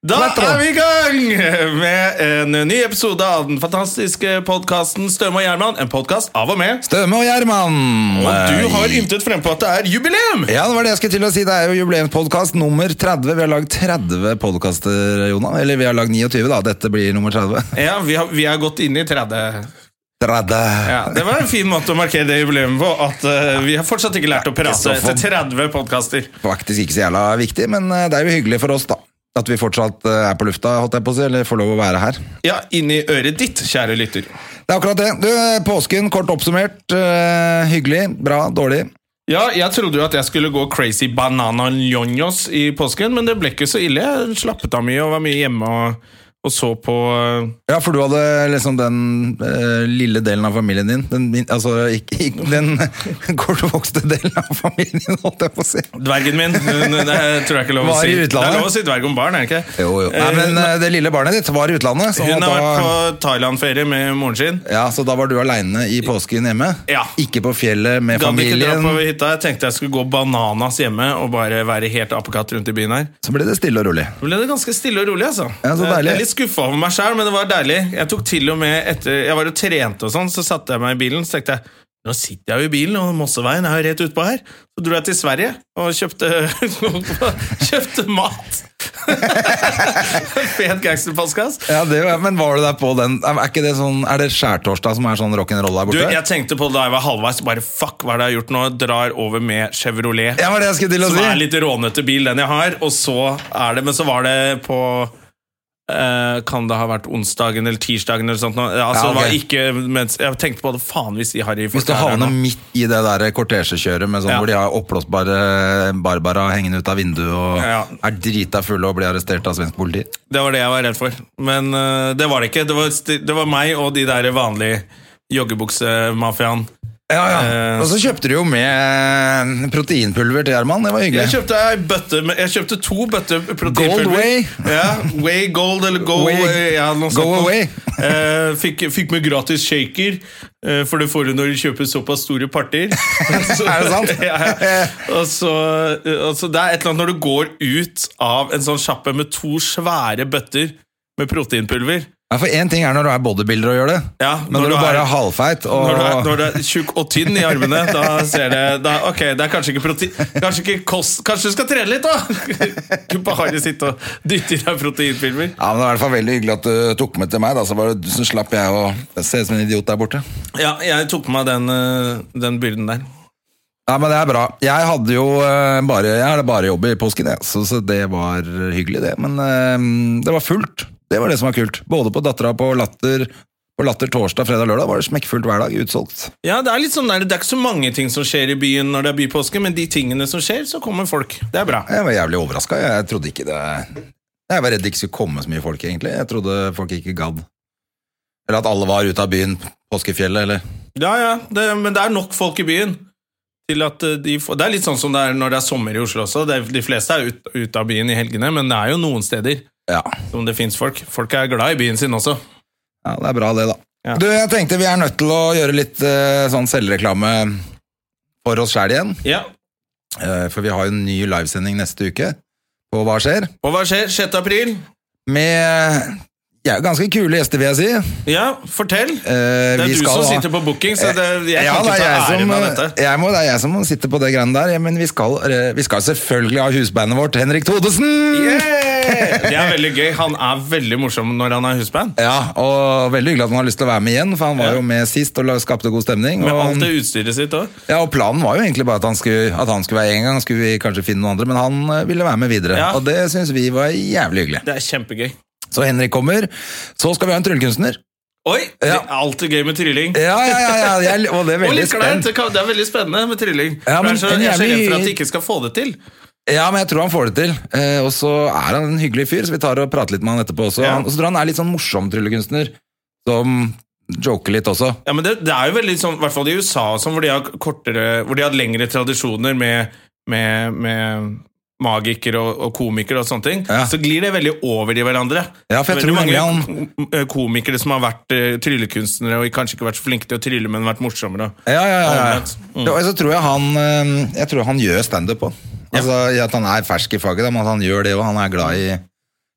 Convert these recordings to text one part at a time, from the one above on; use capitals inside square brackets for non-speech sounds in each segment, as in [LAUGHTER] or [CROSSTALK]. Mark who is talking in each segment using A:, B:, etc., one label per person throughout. A: Da er vi i gang med en ny episode av den fantastiske podkasten Støme og Gjerman. En podkast av og med.
B: Støme og Gjerman! Eh,
A: Og du har ymtet frempå at det er jubileum!
B: Ja, det var det jeg skulle til å si. Det er jo jubileumspodkast nummer 30. Vi har lagd 30 podkaster, Jonas. Eller vi har lagd 29, da. Dette blir nummer [LAUGHS] 30.
A: Ja, vi har, vi har gått inn i 30.
B: 30.
A: Ja, det var en fin måte å markere det jubileet på. At eh, vi har fortsatt ikke lært å prate
B: så
A: etter
B: forbanna.
A: 30 podkaster.
B: [LAUGHS] Faktisk ikke så jævla viktig, men eh, det er jo hyggelig for oss, da. At vi fortsatt eh, er på lufta, holdt jeg på å si. Eller får lov å være her.
A: Ja, inni øret ditt, kjære lytter.
B: Det er akkurat det. Du, eh, påsken, kort oppsummert. eh, hyggelig, bra, dårlig.
A: Ja, jeg trodde jo at jeg skulle gå crazy banana ljonos i påsken, men det ble ikke så ille. Jeg slappet av mye og var mye hjemme og, og så på eh,
B: Ja, for du hadde liksom den eh, lille delen av familien din Den, min- altså, ikke, ikke, den [LAUGHS] kortvokste delen av familien din, holdt jeg på å si.
A: Dvergen min. Hun- Det tror jeg ikke er lov å
B: Var i
A: si. Det
B: utlandet.
A: er lov å si dverg om barn, er det ikke?
B: Jo, jo. Nei,
A: Eh,
B: men eh, det lille barnet ditt var i utlandet, så,
A: Hun har
B: da,
A: vært på Thailand-ferie med moren sin.
B: ja, så da var du aleine i påsken hjemme?
A: Ja.
B: Ikke på fjellet med
A: Gadd ikke dra
B: familien?
A: på hytta. Jeg tenkte jeg skulle gå bananas hjemme og bare være helt apekatt rundt i byen her.
B: Så ble det stille og rolig.
A: Da ble det ganske stille og rolig, altså.
B: Ja, så deilig.
A: Jeg er litt skuffa over meg sjøl, men det var deilig. Jeg tok til og med etter Jeg var og trente og sånn, så satte jeg meg i bilen, så tenkte jeg nå sitter jeg jo i bilen, og Mosseveien er jo rett utpå her. Så dro jeg til Sverige og kjøpte, [LAUGHS] kjøpte mat. [LAUGHS] Fet gangsterpostkasse.
B: Ja, det, var- men var du der på den Er ikke det sånn, er det skjærtorsdag som er sånn rock'n'roll der
A: Du,
B: borte?
A: jeg tenkte på det da jeg var halvveis, bare fuck, hva er det jeg har gjort nå? Jeg Drar over med Chevrolet,
B: Ja, var det jeg skulle til å
A: som
B: si.
A: er litt rånete bil, den jeg har, og så er det Men så var det på eh, kan det ha vært onsdagen eller tirsdagen eller sånt? nå? Ja,
B: Ja,
A: altså,
B: ok.
A: det var ikke, mens, jeg tenkte på det faen hvis de harry
B: Hvis du havner midt i det der kortesjekjøret med sånn
A: Ja.
B: hvor de har oppblåsbare Barbara hengende ut av vinduet og
A: Ja.
B: er drita fulle og blir arrestert av svensk politi.
A: Det var det jeg var redd for. Men eh, det var det ikke. Det var, sti- det var meg og de der vanlige joggebuksemafiaen.
B: Ja, ja.
A: Eh.
B: Og så kjøpte du jo med proteinpulver til Gjerman. Det var hyggelig.
A: Jeg kjøpte, ei bøtte, med- jeg kjøpte to bøtter proteinpulver.
B: Gold Way.
A: Ja, Way Gold eller Go
B: Way-
A: eh, ja, noe
B: Go
A: sånt.
B: Away.
A: Eh, fikk, fikk med gratis shaker, eh, for det får du når du kjøper såpass store parter. Så-
B: [LAUGHS] Er det sant?
A: ja, [LAUGHS] ja. Og så, eh, og så det er et eller annet når du går ut av en sånn sjappe med to svære bøtter med proteinpulver.
B: Ja, for én ting er når du er bodybuilder og gjør det,
A: Ja,
B: men når, du bare er halvfeit og
A: når du, er, når du er tjukk og tynn i armene, da ser det da, Ok, det er kanskje ikke protein Kanskje ikke kost Kanskje du skal trene litt, da? [LAUGHS] Du bare sitte og dytte i deg proteinfilmer.
B: Ja, men Det var i hvert fall veldig hyggelig at du tok med til meg. da, Så, var det, så slapp jeg å se ut som en idiot der borte.
A: Ja, jeg tok på meg den, øh, den byrden der.
B: Ja, men Det er bra. Jeg hadde jo eh, bare, jeg hadde bare jobb i påsken, jeg. Så, så det var hyggelig, det. Men eh, det var fullt. Det var det som var kult. Både på Dattera på Latter på Latter torsdag, fredag, lørdag var det smekkfullt hver dag. Utsolgt.
A: Ja, Det er litt sånn der, det er ikke så mange ting som skjer i byen når det er bypåske, men de tingene som skjer, så kommer folk. Det er bra.
B: Jeg var jævlig overraska. Jeg trodde ikke det Jeg var redd det ikke skulle komme så mye folk, egentlig. Jeg trodde folk ikke gadd. Eller at alle var ute av byen. Påskefjellet, eller
A: Ja, ja, det, Men det er nok folk i byen. Til at øh, de får, det er litt sånn som det er når det er sommer i Oslo også. Det, er- de fleste er ute ut av byen i helgene, men det er jo noen steder
B: Ja.
A: som det fins folk. Folk er glad i byen sin også.
B: Ja, det er bra det, da.
A: Ja.
B: Du, jeg tenkte vi er nødt til å gjøre litt eh, sånn selvreklame for oss sjæl igjen.
A: Ja.
B: Eh, for vi har jo en ny livesending neste uke på Hva skjer?
A: Og hva skjer 6. april?
B: Med ja, ganske kule gjester, vil jeg si.
A: Ja, fortell.
B: Eh,
A: Det er
B: vi
A: du
B: skal
A: som
B: ha- Eh,
A: sitter på booking, så det, jeg
B: Ja,
A: kan
B: det
A: ikke
B: er
A: ta
B: jeg
A: æren
B: som, eh,
A: av dette.
B: jeg må, det er jeg som sitter på det greiene der. Ja, men vi skal, eh, vi skal selvfølgelig ha husbandet vårt, Henrik Thodesen!
A: [LAUGHS] Det er veldig gøy. Han er veldig morsom når han er husband.
B: Ja, og Veldig hyggelig at han har lyst til å være med igjen, for han var jo med sist og la- skapte god stemning.
A: Med
B: og
A: alt det utstyret sitt òg.
B: Ja, og planen var jo egentlig bare at han skulle, at han skulle være en gang, skulle vi kanskje finne noen andre, men han eh, ville være med videre,
A: Ja.
B: og det synes vi var jævlig hyggelig.
A: Det er kjempegøy.
B: Så Henrik kommer, så skal vi ha en tryllekunstner.
A: Oi! Det
B: Ja.
A: er alltid gøy med trylling.
B: Ja, ja, ja, ja jeg, og det er
A: Og
B: veldig
A: litt kleint.
B: spent.
A: Det kan- det er veldig spennende med trylling.
B: Ja,
A: For
B: men
A: jeg er så-
B: en
A: jeg er så
B: jævlig-
A: redd for at de ikke skal få det til.
B: Ja, men jeg tror han får det til. Eh, og så er han en hyggelig fyr, så vi tar og prater litt med han etterpå også.
A: Ja.
B: Han, og så tror jeg han er litt sånn morsom tryllekunstner, som joker litt også.
A: Ja, men det, det er jo veldig sånn, i hvert fall i USA, og sånn, hvor, de har kortere, hvor de har lengre tradisjoner med, med, med magikere og, og komikere og sånne ting,
B: Ja.
A: så glir det veldig over i hverandre.
B: Ja, for jeg
A: veldig
B: tror
A: mange
B: mange
A: ko- eh, komikere som har vært eh, tryllekunstnere og kanskje ikke vært så flinke til å trylle, men vært morsommere.
B: Ja, ja, ja. ja.
A: Omvendt. Mm.
B: Ja, og så tror jeg han, eh, jeg tror han gjør standup òg. Altså, i At han er fersk i faget, da, men at han gjør det òg. Han er glad i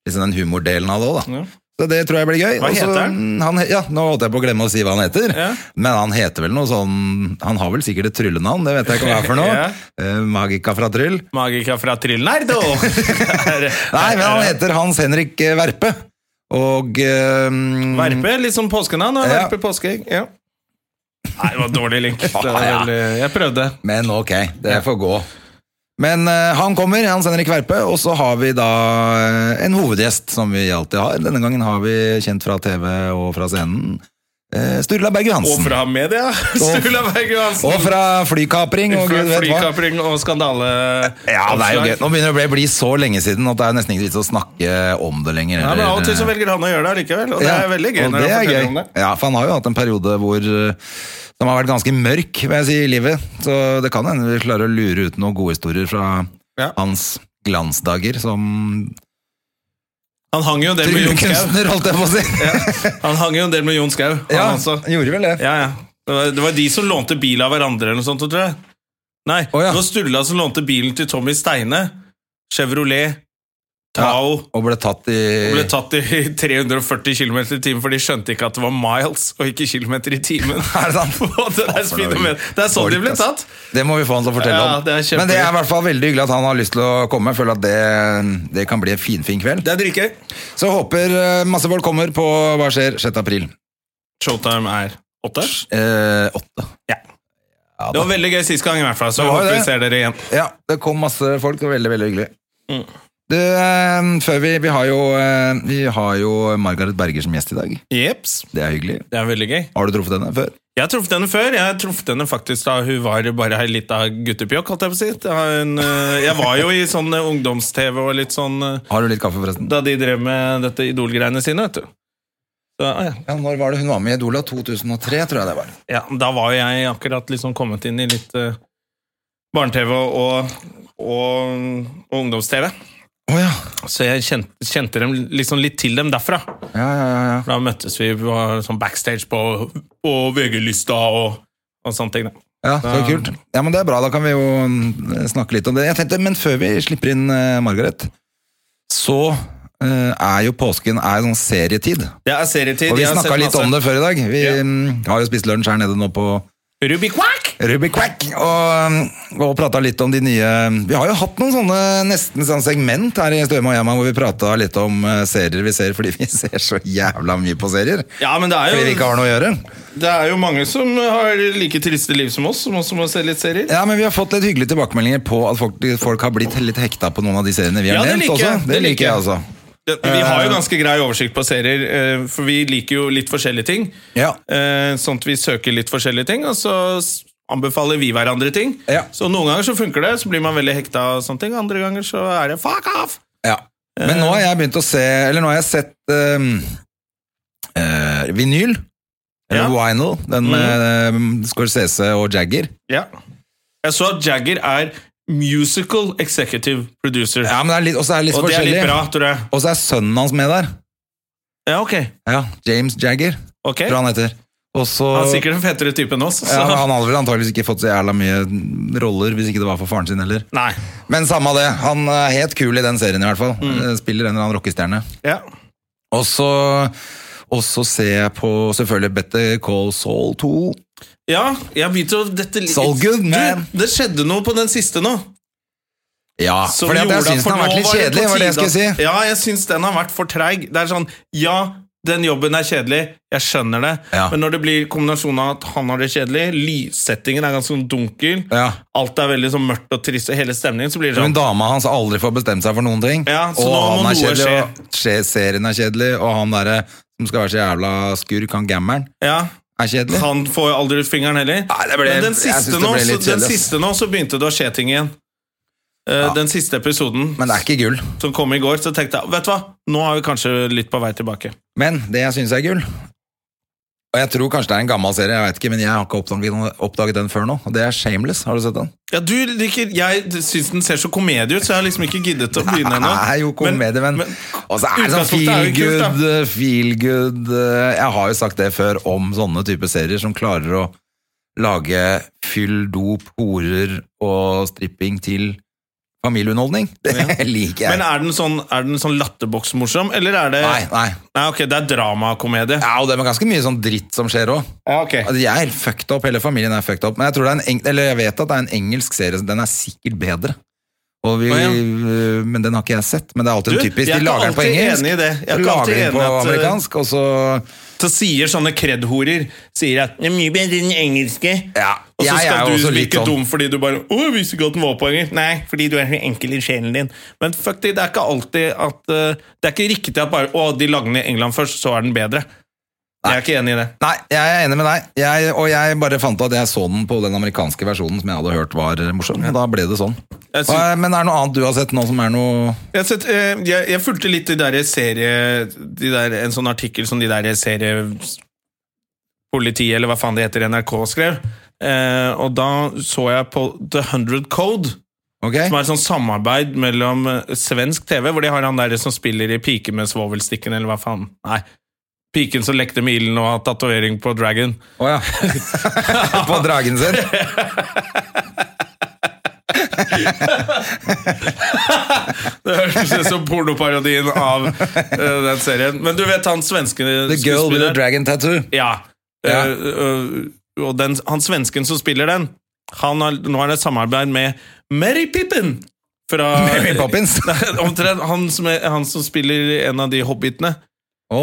B: liksom, den humordelen av det òg, da.
A: Ja.
B: Så det tror jeg blir gøy.
A: Hva
B: Og så-
A: heter han?
B: he- ja, nå holdt jeg på å glemme å si hva han heter.
A: Ja.
B: Men han heter vel noe sånn Han har vel sikkert et tryllenavn, det vet jeg ikke hva er for noe.
A: [LAUGHS] Ja.
B: Eh, Magika fra Tryll.
A: Magika fra
B: [LAUGHS]
A: Trillnerd, og...
B: Nei, men han heter Hans Henrik eh, Verpe. Og eh,
A: Verpe, litt som påskenavn. og
B: Ja.
A: Verpe påskeegg. Ja. Nei, det var en dårlig
B: [LAUGHS]
A: link. Det var
B: Ja.
A: veldig... Jeg prøvde.
B: Men ok, det får gå. Men eh, han kommer, Hans Henrik Verpe, og så har vi da eh, en hovedgjest, som vi alltid har. Denne gangen har vi kjent fra TV og fra scenen, eh, Sturla Berg
A: Og
B: Johansen.
A: fra [LAUGHS] media, Sturla Berg Johansen.
B: Og fra flykapring og gud vet hva.
A: Flykapring og skandale...
B: Ja, det er jo gøy.
A: oppslag.
B: Nå begynner det å bli så lenge siden at det er nesten ikke vits å snakke om det lenger.
A: Ja, men Av og til så velger han å gjøre det likevel, og det er veldig gøy.
B: og
A: når
B: det er
A: han forteller
B: gøy.
A: om det.
B: Ja, for han har jo hatt en periode hvor eh, som har vært ganske mørk, vil jeg si, i livet. Så det kan hende vi klarer å lure ut noen gode historier fra
A: Ja.
B: hans glansdager som
A: Han hang jo en del med Jon Skau.
B: tryllekunstner, holdt jeg på å si. Ja, [LAUGHS]
A: Han hang jo en del med Jon Skau. han også.
B: han gjorde vel det.
A: Ja, ja. Det var, det var de som lånte bil av hverandre eller noe sånt, tror jeg. Nei,
B: Å, ja.
A: det var Sturla som lånte bilen til Tommy Steine. Chevrolet. Tao.
B: Og ble tatt i
A: Og ble tatt i [LAUGHS] 340 km i timen, for de skjønte ikke at det var miles og ikke kilometer i timen.
B: [LAUGHS] Er det sant?
A: [LAUGHS] Og det, er speedometer. det er sånn de ble tatt!
B: Det må vi få han til å fortelle
A: Ja,
B: om.
A: det er kjempe-
B: Men det er i hvert fall veldig hyggelig at han har lyst til å komme. Jeg føler at det, det kan bli en finfin kveld.
A: Det er dritgøy.
B: Så håper eh, masse folk kommer på Hva skjer 6. april.
A: Showtime er åtte.
B: Eh, åtte.
A: Ja. Det var veldig gøy sist gang, i hvert fall. Så
B: Det var jo
A: håper vi
B: det.
A: ser dere igjen.
B: Ja, det kom masse folk, og veldig, veldig hyggelig.
A: Mm.
B: Du, eh, før vi, vi, har jo, eh, vi har jo Margaret Berger som gjest i dag.
A: Jeps.
B: Det er hyggelig.
A: Det er veldig gøy.
B: Har du truffet henne før?
A: Jeg har truffet henne før. Jeg har truffet henne faktisk da hun var bare ei lita guttepjokk, holdt jeg på å si. Da hun, eh, jeg var jo i sånn eh, ungdoms-TV og litt sånn eh,
B: Har du litt kaffe, forresten?
A: Da de drev med dette Idol-greiene sine, vet du. Så, ah, ja.
B: Ja, når var det hun var med i Idola? 2003, tror jeg det var.
A: ja, da var jo jeg akkurat liksom kommet inn i litt eh, barne-TV og, og, og, og ungdoms-TV.
B: Å ja.
A: Så jeg kjente, kjente dem liksom litt til dem derfra.
B: Ja, ja, ja, ja.
A: Da møttes vi på, sånn backstage på, på VG-lista og, og sånne ting. da.
B: Ja, så
A: Da-
B: kult. Ja, men Det er bra, da kan vi jo mm, snakke litt om det. Jeg tenkte, Men før vi slipper inn eh, Margaret, så eh, er jo påsken er jo sånn serietid.
A: Det er serietid.
B: Og vi
A: Jeg har
B: snakka
A: sett
B: litt
A: masse.
B: om det før i dag. Vi
A: Ja.
B: mm, har jo spist lunsj her nede nå på
A: Ruby Quack!
B: Ruby Quack, og, um, og prata litt om de nye Vi har jo hatt noen sånne nesten sånn segment her i Støme og Hjemma hvor vi prata litt om eh, serier vi ser, fordi [LAUGHS] vi ser så jævla mye på serier.
A: Ja, men det er,
B: Fordi vi ikke
A: jo,
B: har noe å gjøre.
A: det er jo mange som har like triste liv som oss, som også må se litt serier.
B: Ja, men Vi har fått litt hyggelige tilbakemeldinger på at folk, folk har blitt litt hekta på noen av de seriene vi har
A: Ja,
B: nevnt.
A: det liker jeg.
B: også. Det,
A: Det liker
B: liker jeg, altså.
A: Det, vi har jo
B: Eh.
A: ganske grei oversikt på serier, eh, for vi liker jo litt forskjellige ting.
B: Ja.
A: Eh, Sånn at vi søker litt forskjellige ting, og så s- anbefaler vi hverandre ting.
B: Ja.
A: Så noen ganger så funker det, så blir man veldig hekta og sånne ting. Andre ganger så er det fuck off!
B: Ja. Men nå har jeg begynt å se Eller nå har jeg sett ehm, eh, vinyl. Eller
A: Ja. Mm.
B: vinyl. Den med ehm, Scorsese og Jagger.
A: Ja. Jeg så at Jagger er musical executive producer.
B: Ja, men det er litt, også er det litt
A: og det er
B: forskjellig.
A: litt bra, tror jeg.
B: Og så er sønnen hans med der.
A: Ja, ok.
B: Ja, James Jagger,
A: Ok.
B: tror jeg han heter. Og så
A: Han er sikkert en fetere type enn oss. Så.
B: ja, men Han hadde vel antakeligvis ikke fått så jævla mye roller hvis ikke det var for faren sin heller.
A: Nei.
B: Men samme av det, han er helt kul i den serien i hvert fall.
A: Mm.
B: Eh, Spiller en eller annen rockestjerne.
A: Ja.
B: Og så og så ser jeg på selvfølgelig Better Call Saul 2.
A: ja, jeg begynte å dette litt
B: So good, man.
A: Du, det skjedde noe på den siste nå.
B: Ja,
A: som
B: fordi at jeg
A: gjorde at
B: syns
A: for
B: den har vært
A: nå
B: litt
A: var det
B: kjedelig,
A: på
B: var det jeg
A: tide
B: skulle
A: at-
B: si.
A: Ja, jeg syns den har vært for treig. Det er sånn, ja, den jobben er kjedelig, jeg skjønner det,
B: Ja.
A: men når det blir kombinasjonen av at han har det kjedelig, lyssettingen er ganske sånn dunkel,
B: Ja.
A: alt er veldig sånn mørkt og trist, og hele stemningen, så blir det
B: Men
A: sånn
B: dama hans har aldri får bestemt seg for noen ting.
A: Ja, så
B: og
A: nå må
B: han er
A: noe
B: kjedelig, og skje- serien er kjedelig, og han derre som skal være så jævla skurk, han gammeren,
A: Ja,
B: er kjedelig.
A: han får jo aldri ut fingeren heller.
B: Nei, det ble-
A: men den
B: jeg synes
A: siste,
B: det
A: nå,
B: ble
A: så,
B: litt
A: den
B: kjedelig, ass.
A: siste nå, så begynte det å skje ting igjen. eh, den siste episoden
B: Men det er ikke gull.
A: som kom i går, så tenkte jeg vet du hva, nå er vi kanskje litt på vei tilbake.
B: Men det jeg syns er gull Og jeg tror kanskje det er en gammel serie, jeg vet ikke, men jeg har ikke oppdaget, oppdaget den før nå. Og det er Shameless. Har du sett den?
A: Ja, du liker, Jeg syns den ser så komedie ut, så jeg har liksom ikke giddet å begynne ennå.
B: Nei, jo, komedie, men,
A: men-
B: Og så er det sånn
A: Utgangspunktet er
B: feel
A: jo kult, da.
B: good, feel good eh, Jeg har jo sagt det før om sånne type serier som klarer å lage fyll, dop, horer og stripping til familieunderholdning. [LAUGHS] Det liker jeg.
A: Men er den sånn, er den sånn latterboksmorsom, eller er det
B: nei, nei.
A: Nei, ok, det er dramakomedie.
B: Ja, og det er ganske mye sånn dritt som skjer òg.
A: Ja, ok.
B: Altså, Jeg er helt fucked up, hele familien er fucked up. Men jeg, tror det er en eng eller jeg vet at det er en engelsk serie, så den er sikkert bedre. Og vi,
A: Å, ja.
B: øh, Men den har ikke jeg sett. Men det er alltid
A: Du,
B: typisk.
A: jeg er
B: De
A: ikke
B: lager den på
A: alltid
B: engelsk,
A: enig i det. Jeg er
B: så
A: ikke
B: lager
A: alltid
B: de den på
A: enig at, øh,
B: amerikansk, og så
A: Så sier sånne kred-horer Sier at det er mye bedre enn engelske.
B: Ja,
A: Og så
B: jeg er
A: skal
B: jo
A: du
B: også litt
A: virke
B: sånn.
A: dum fordi du bare Å, jeg visste ikke at den var på engelsk. Nei, fordi du er så enkel i sjelen din. Men fuck det, det er ikke alltid at eh, Det er ikke riktig at bare Å, de lagde den i England først, så er den bedre. Jeg er ikke enig i det.
B: Nei, jeg er enig med deg. Jeg, og jeg bare fant ut at jeg så den på den amerikanske versjonen som jeg hadde hørt var morsom. og Da ble det sånn. Hva,
A: Jeg synes-
B: men er det noe annet du har sett nå som er noe
A: Jeg, har sett, eh, jeg, jeg fulgte litt de der serie de der, En sånn artikkel som de der serie Politiet, eller hva faen det heter, NRK skrev. Eh, og da så jeg på The 100 Code,
B: Ok?
A: som er et sånt samarbeid mellom eh, svensk TV, hvor de har han der som spiller i Pike med svovelstikken, eller hva faen. Nei. Piken som lekte med ilden og har tatovering på dragon. [LAUGHS]
B: Å ja. [LAUGHS] på dragen sin?
A: Det høres ut som pornoparodien av eh, den serien. Men du vet han svenske
B: The girl with the
A: skuespilleren-
B: dragon tattoo.
A: [LAUGHS] Ja.
B: Ja.
A: Eh, eh, og den, han svensken som spiller den, han har, nå har det samarbeid med Mary Pippin! Fra,
B: Mary Poppins.
A: [LAUGHS] Nei, omtrent han som, er, han som spiller en av de hobbitene
B: Å,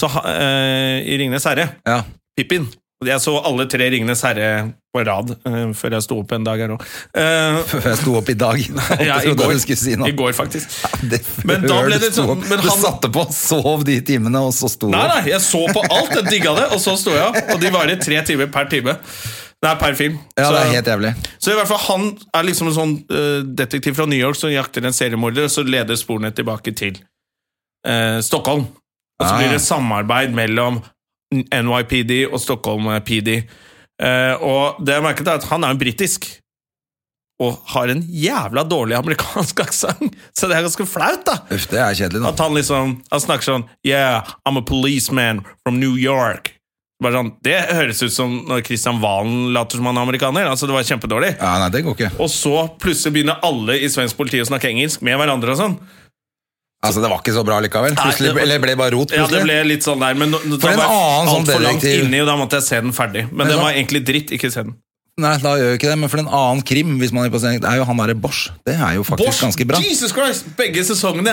A: så, ha- eh, i Ringenes herre.
B: ja.
A: Pippin. Og Jeg så alle tre Ringenes herre på rad eh, før jeg sto opp en dag her òg.
B: Før jeg sto opp i
A: [LAUGHS]
B: dag.
A: ja, i
B: Jeg trodde
A: går.
B: du skulle si noe.
A: I går, faktisk.
B: Det,
A: Men da
B: før
A: ble
B: du
A: det
B: sto
A: sånn-
B: opp.
A: men
B: Du
A: han-
B: satte på, sov de timene, og så sto du
A: Nei,
B: opp.
A: nei, jeg så på alt, jeg digga det, og så sto jeg opp. Og de varer tre timer per time. Nei, per film.
B: Ja, det
A: Så-
B: er helt jævlig.
A: Så i hvert fall han er liksom en sånn eh, detektiv fra New York som jakter en seriemorder, og så leder sporene tilbake til eh, Stockholm. Og så
B: Ah.
A: blir det samarbeid mellom NYPD og Stockholm eh, PD. Eh, og det jeg merket, er at han er jo britisk. Og har en jævla dårlig amerikansk [LAUGHS] aksent, så det er ganske flaut, da.
B: Uff, det er kjedelig, da.
A: At han liksom Han snakker sånn Yeah, I'm a policeman from New York. Bare sånn, Det høres ut som når Christian Valen later som han er amerikaner. Altså Det var kjempedårlig.
B: Ja, nei, det går ikke.
A: Og så plutselig begynner alle i svensk politi å snakke engelsk med hverandre og sånn.
B: Altså, Det var ikke så bra likevel. Plutselig,
A: det var-
B: Eller ble det bare rot,
A: Ja, det
B: plutselig.
A: ble litt sånn der, men nå, da
B: For en
A: var jeg
B: annen sånn
A: altfor langt
B: detektiv.
A: inni, og da måtte jeg se den ferdig. Men den
B: da-
A: var egentlig dritt, ikke se den.
B: Nei, da gjør vi ikke det, men for en annen krim hvis man er på scenen, det er jo han derre Bosch. Det er jo faktisk ganske bra.
A: Jesus Christ! Begge
B: [LAUGHS]
A: sesongene.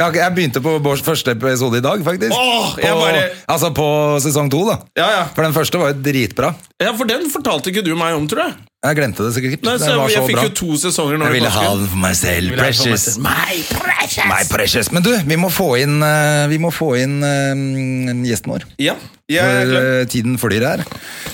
B: Ja, ok, jeg begynte på Bosch første episode i dag, faktisk.
A: Åh, jeg
B: på,
A: bare-
B: Altså på sesong to, da.
A: Ja, ja.
B: For den første var jo dritbra.
A: ja, for den fortalte ikke du meg om, tror jeg.
B: Jeg glemte det sikkert.
A: Nei, så
B: den var
A: jeg
B: så
A: fikk
B: bra.
A: jo to sesonger nå
B: Jeg
A: i
B: ville ha
A: påsken.
B: den for meg selv.
A: ville ha den for meg
B: Precious.
A: selv.
B: My precious. Men du, vi må få inn, eh, vi må få inn eh, gjesten vår.
A: Ja, jeg er
B: For
A: klar.
B: eh, tiden flyr her.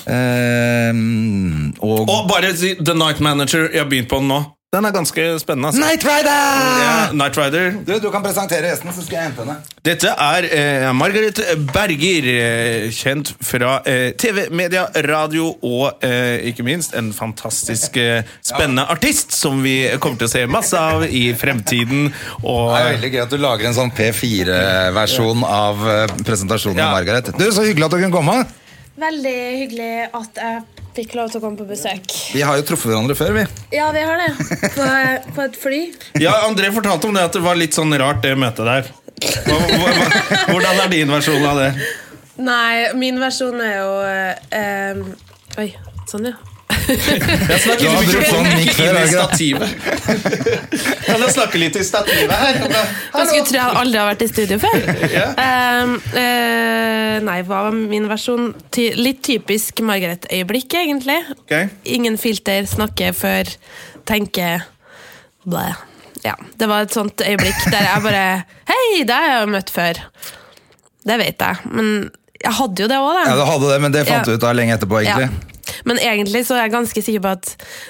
B: Eh, og
A: Og bare si The Night Manager. Jeg har begynt på den nå. Den er ganske spennende. Altså.
B: Night Rider!
A: Ja, Night Rider.
B: Du, du kan presentere gjesten, så skal jeg hente henne.
A: Dette er eh, Margaret Berger, eh, kjent fra eh, TV, media, radio og eh, ikke minst en fantastisk eh, spennende artist som vi kommer til å se masse av i fremtiden. Og,
B: Det er veldig gøy at du lager en sånn P4-versjon av eh, presentasjonen
A: Ja.
B: av Margaret. Du, Så hyggelig at du kunne komme.
C: Veldig hyggelig at jeg fikk lov til å komme på besøk.
B: Vi har jo truffet hverandre før, vi.
C: Ja, vi har det. På, på et fly.
A: ja, André fortalte om det at det var litt sånn rart, det møtet der. Hva, hva, hva, hvordan er din versjon av det?
C: Nei, min versjon er jo eh, em, Oi, sånn, ja.
A: Jeg snakker
B: Du har
A: litt
B: brukt sånn mic
A: ikke
B: før,
A: inn i
B: har du
A: stativet. [LAUGHS] Kan jeg snakke litt i stativet her?
C: Jeg skulle tro jeg aldri har vært i studio før.
A: Ja.
C: Em, eh, nei, hva var min versjon? Ty litt typisk Margaret-øyeblikk, egentlig.
A: Ok.
C: Ingen filter, snakke før, tenke Blæ. Ja, det var et sånt øyeblikk der jeg bare [LAUGHS] Hei, det har jeg jo møtt før. Det vet jeg, men jeg hadde jo det òg, da.
B: Ja, du hadde det, men det fant
C: Ja.
B: du ut av lenge etterpå, egentlig.
C: Ja. Men egentlig så er jeg ganske sikker på at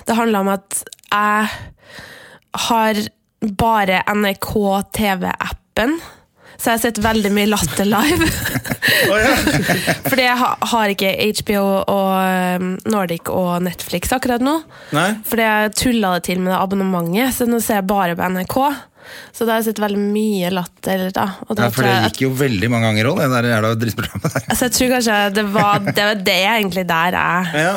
C: det handla om at jeg har bare E NRK TV-appen, så jeg har sett veldig mye Latter live. [LAUGHS]
A: Å, ja.
C: Fordi jeg ha- har ikke HBO og um, Nordic og Netflix akkurat nå.
A: Nei?
C: Fordi jeg tulla det til med det abonnementet, så nå ser jeg bare på NRK. Så da har jeg sett veldig mye latter. da. Og da
B: Ja, for
C: tror
B: det
C: jeg,
B: gikk jo veldig mange ganger òg, det der jævla drittprogrammet der.
C: altså, jeg tror kanskje det var det, var det egentlig der jeg
A: Ja.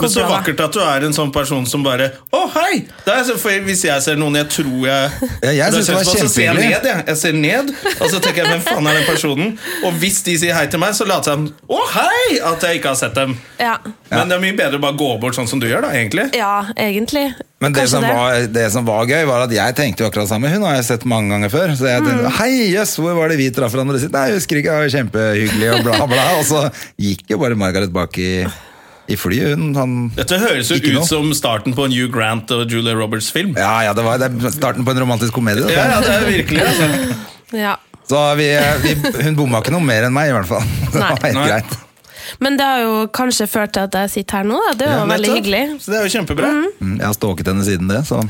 A: Men så
C: Kobra, da.
A: vakkert at du er en sånn person som bare Å, hei! Det er så, for hvis jeg ser noen jeg tror jeg
B: Ja, jeg
A: Da
B: synes det var
A: kjennes på, Så ser jeg
B: kjempehyggelig.
A: ned, jeg. Jeg ser ned, og så tenker jeg hvem faen er den personen? Og hvis de sier hei til meg, så later jeg som Å, hei! At jeg ikke har sett dem.
C: Ja,
A: Men det er mye bedre å bare gå bort sånn som du gjør, da, egentlig.
C: ja egentlig.
B: Men det
C: Kanskje
B: som, Var, det som var gøy, var at jeg tenkte jo akkurat det samme. Hun har jeg sett mange ganger før. Så jeg tenkte hei, jøss, hvor var det vi traff hverandre sist? Nei, jeg husker ikke, det var kjempehyggelig og bla, bla. Og så gikk jo bare Margaret bak i, i flyet, hun. Han,
A: Dette høres jo
B: Ikke
A: ut
B: noe.
A: som starten på en Hugh Grant og Julia Roberts-film. Ja.
B: ja, ja, det var det er starten på en romantisk komedie.
A: Ja,
B: dette.
A: det er virkelig
C: [LAUGHS]
A: altså.
C: Ja.
B: Så vi, vi, hun bomma ikke noe mer enn meg, i hvert fall. [LAUGHS] Det
C: Nei.
B: var helt
A: Nei.
B: greit.
C: Men det har jo kanskje ført til at jeg sitter her nå. da. Det var veldig
A: Nettopp.
C: hyggelig. Mhm.
A: Så det er jo kjempebra.
B: Mm, Jeg har stalket henne siden det, så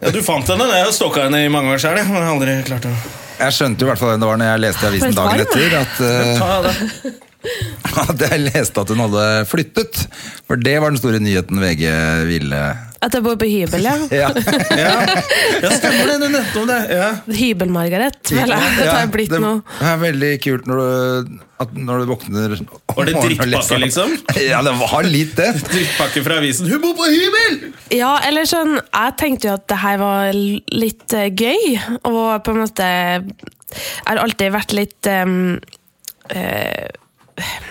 A: Ja, Du fant henne. Jeg har stalka henne i mange år sjøl. Jeg har aldri klart å
B: jeg skjønte jo i hvert fall hvem det var når jeg leste i
C: For et
B: avisen dagen
C: varm.
B: etter.
A: [LAUGHS]
B: At, eh,
A: ta det.
B: [LAUGHS] at jeg leste at hun hadde flyttet. For det var den store nyheten VG ville
C: At jeg bor på
B: [LAUGHS]
C: hybel, ja. [LAUGHS]
B: ja.
A: Ja, ja stemmer det. Du nevnte om det. Ja.
C: Hybel-Margaret. vel,
B: Ja,
C: Det har jeg blitt
B: det
C: nå.
B: er veldig kult når du, at når du våkner om
A: Var det
B: morgenen og leser
A: drittpakke,
B: at-
A: liksom?
B: [LAUGHS] Ja, det var litt det.
A: Drittpakke fra avisen. Hun bor på hybel!
C: Ja, eller sånn, jeg tenkte jo at det her var l- litt eh, gøy, og på en måte Jeg har alltid vært litt um,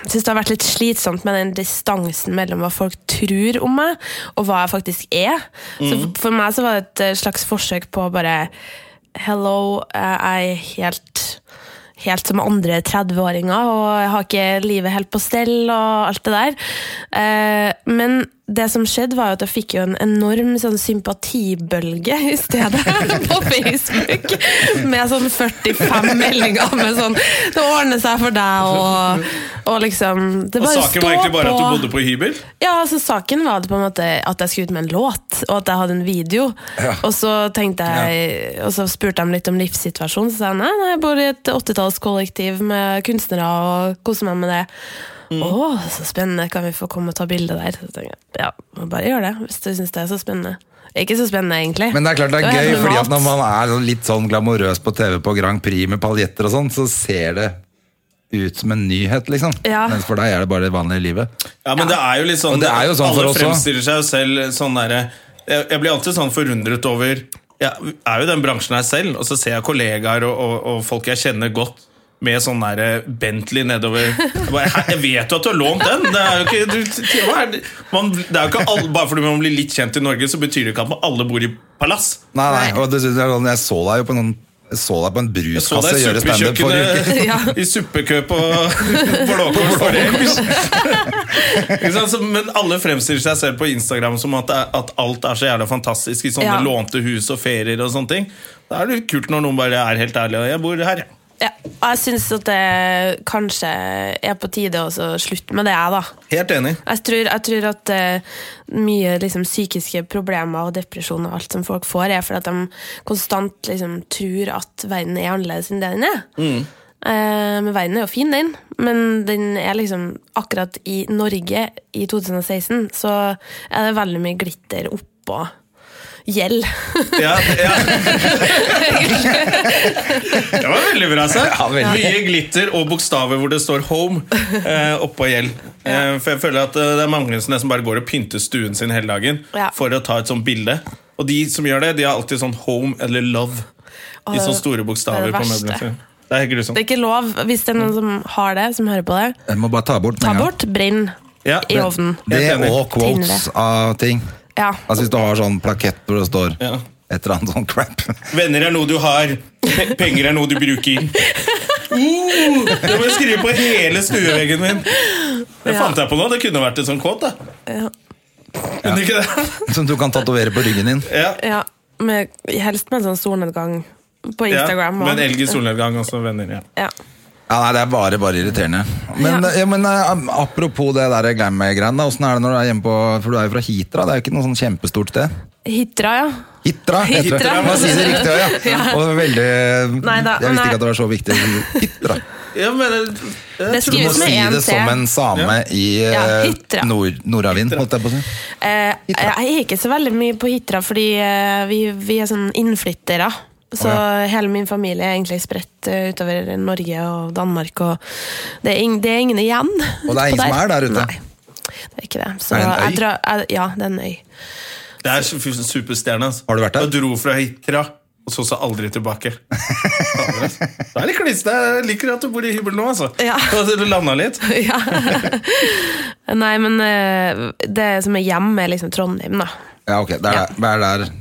C: Syns det har vært litt slitsomt med den distansen mellom hva folk tror om meg, og hva jeg faktisk er. Så f- for meg så var det et eh, slags forsøk på å bare Hello, jeg er helt Helt som andre 30-åringer, og jeg har ikke livet helt på stell og alt det der. Eh, Men det som skjedde, var jo at jeg fikk jo en enorm sånn sympatibølge i stedet [LAUGHS] på Facebook. Med sånn 45 meldinger med sånn 'Det ordner seg for deg', og, og liksom Det
A: Og
C: bare
A: saken
C: stå
A: var egentlig bare at
C: på.
A: du bodde på hybel.
C: Ja, altså saken var det på en måte at jeg skulle ut med en låt, og at jeg hadde en video. Og så tenkte jeg, og så spurte de litt om livssituasjonen, så sa jeg nei, nei, jeg bor i et åttitallskollektiv med kunstnere og koser meg med det.
B: Mm.
C: Å, så spennende, kan vi få komme og ta bilde der? Så tenkte jeg, ja, må bare gjør det, hvis du syns det er så spennende. Ikke så spennende, egentlig.
B: Men det er klart det er
C: var
B: gøy,
C: helt
B: fordi at når
C: normalt.
B: man er sånn litt sånn glamorøs på TV på Grand Prix med paljetter og sånn, så ser det ut som en nyhet, liksom.
C: Ja.
B: Mens for deg er det bare det vanlige livet.
A: Ja, men det er jo litt
B: Og
A: sånn,
B: det er jo sånn for
A: Alle
B: oss også.
A: fremstiller seg jo selv sånn derre jeg, jeg blir alltid sånn forundret over Jeg er jo i den bransjen her selv, og så ser jeg kollegaer og, og, og folk jeg kjenner godt. Med sånn der Bentley nedover. Jeg, bare, «Hæ, jeg vet jo at du har lånt den! Det er jo ikke, du, hva er det- man, det er jo ikke alle, bare fordi man blir litt kjent i Norge, så betyr det ikke at man alle bor i palass.
B: Nei, nei, og dessuten er det sånn, jeg så deg jo på noen jeg så deg på en
A: Jeg så
B: bruskasse
A: deg i
B: gjøre standup forrige uke.
A: suppekjøkkenet [LAUGHS] i suppekø på Blåkors forrige uke. [LAUGHS] Ikke sant? Så- Men alle fremstiller seg selv på Instagram som at, det er- at alt er så jævla fantastisk i sånne
C: Ja.
A: lånte hus og ferier og sånne ting. Da er det jo kult når noen bare er helt ærlig og 'jeg bor her', jeg.
C: Ja, og jeg syns at det kanskje er på tide å så slutte med det, jeg, da.
A: Helt enig.
C: Jeg tror, jeg tror at eh, mye liksom, psykiske problemer og depresjon og alt som folk får, er fordi at de konstant liksom, tror at verden er annerledes enn det den er. Eh, men verden er jo fin, den. Men den er liksom akkurat i Norge i 2016 så er det veldig mye glitter oppå gjeld. [LAUGHS]
A: Ja, ja. Det var veldig bra sagt.
B: Ja, veldig.
A: Mye glitter og bokstaver hvor det står 'home' eh, oppå gjeld. Eh, for jeg føler at eh, det er mange som nesten bare går og pynter stuen sin hele dagen
C: Ja.
A: for å ta et sånt bilde. Og de som gjør det, de har alltid sånn 'home' eller 'love' i
C: det-
A: sånne store
C: det
A: bokstaver.
C: er det
A: på
C: verste.
A: møblene sine. Det er helt
C: Det
A: grusomt.
C: er ikke lov, hvis det er noen som har det, som hører på det.
B: Jeg må bare ta bort
C: Ta
B: med en gang.
C: bort, brinn
A: Ja.
C: i ovnen.
B: Det
A: Helt enig.
B: og quotes
C: Tidligere.
B: av ting.
C: Ja.
B: Altså Hvis du har sånn plakett hvor det står
A: Ja.
B: et eller annet sånn crap. [LAUGHS]
A: Venner er noe du har, pe penger er noe du bruker. Uh, det må jeg skrive på hele stueveggen min! Det
C: Ja.
A: fant jeg på nå. Det kunne vært en sånn kåt, da.
C: Ja.
A: Kunne ikke det?
B: Som du kan tatovere på ryggen din.
A: Ja.
C: Ja, med, helst med en sånn solnedgang på
A: Ja,
C: Instagram. og-
A: men elg i solnedgang, også venner. Ja.
C: Ja.
B: Ja, nei, Det er bare bare irriterende. Men, ja. men eh, apropos det der glam-greiene. Åssen er det når du er hjemme på For du er jo fra Hitra, det er jo ikke noe sånn kjempestort sted?
C: Hitra, ja.
B: Hitra, heter det.
C: Hitra.
B: Man sier det riktig, ja. ja.
C: [LAUGHS] Ja.
B: Og veldig
C: Nei da,
B: Jeg visste
C: nei.
B: ikke at det var så viktig. Hitra.
A: Ja, men, jeg,
C: Det
A: jeg
B: Du må
A: tror
C: skrives med
B: si
C: én
B: det som en
C: T.
B: same i
C: Ja,
B: eh,
C: Hitra.
B: nord, Nordavind, holdt jeg på å si.
C: Eh, jeg er ikke så veldig mye på Hitra, fordi eh, vi, vi er sånn innflyttere. Så
B: Å,
C: hele min familie er egentlig spredt eh, utover Norge og Danmark, og det er, ing, det er ingen igjen.
B: Og det er
C: [LAUGHS]
B: ingen som er der ute.
C: Nei, det er ikke det. Så
B: Er det en øy?
C: Jeg drar, jeg, ja, det er en øy. [LAUGHS]
A: Det er su- superstjerne. Altså.
B: Har du vært der?
A: Jeg dro fra Hitra og så seg aldri tilbake. [LAUGHS] Fader, altså. Det er litt klissete. Jeg liker at du bor i hybel nå, altså.
C: Ja.
A: [LAUGHS] Og Du landa litt.
C: ja. Nei, men eh, det som er hjem, er liksom Trondheim, da.
B: Ja, ok, det er, der- det er der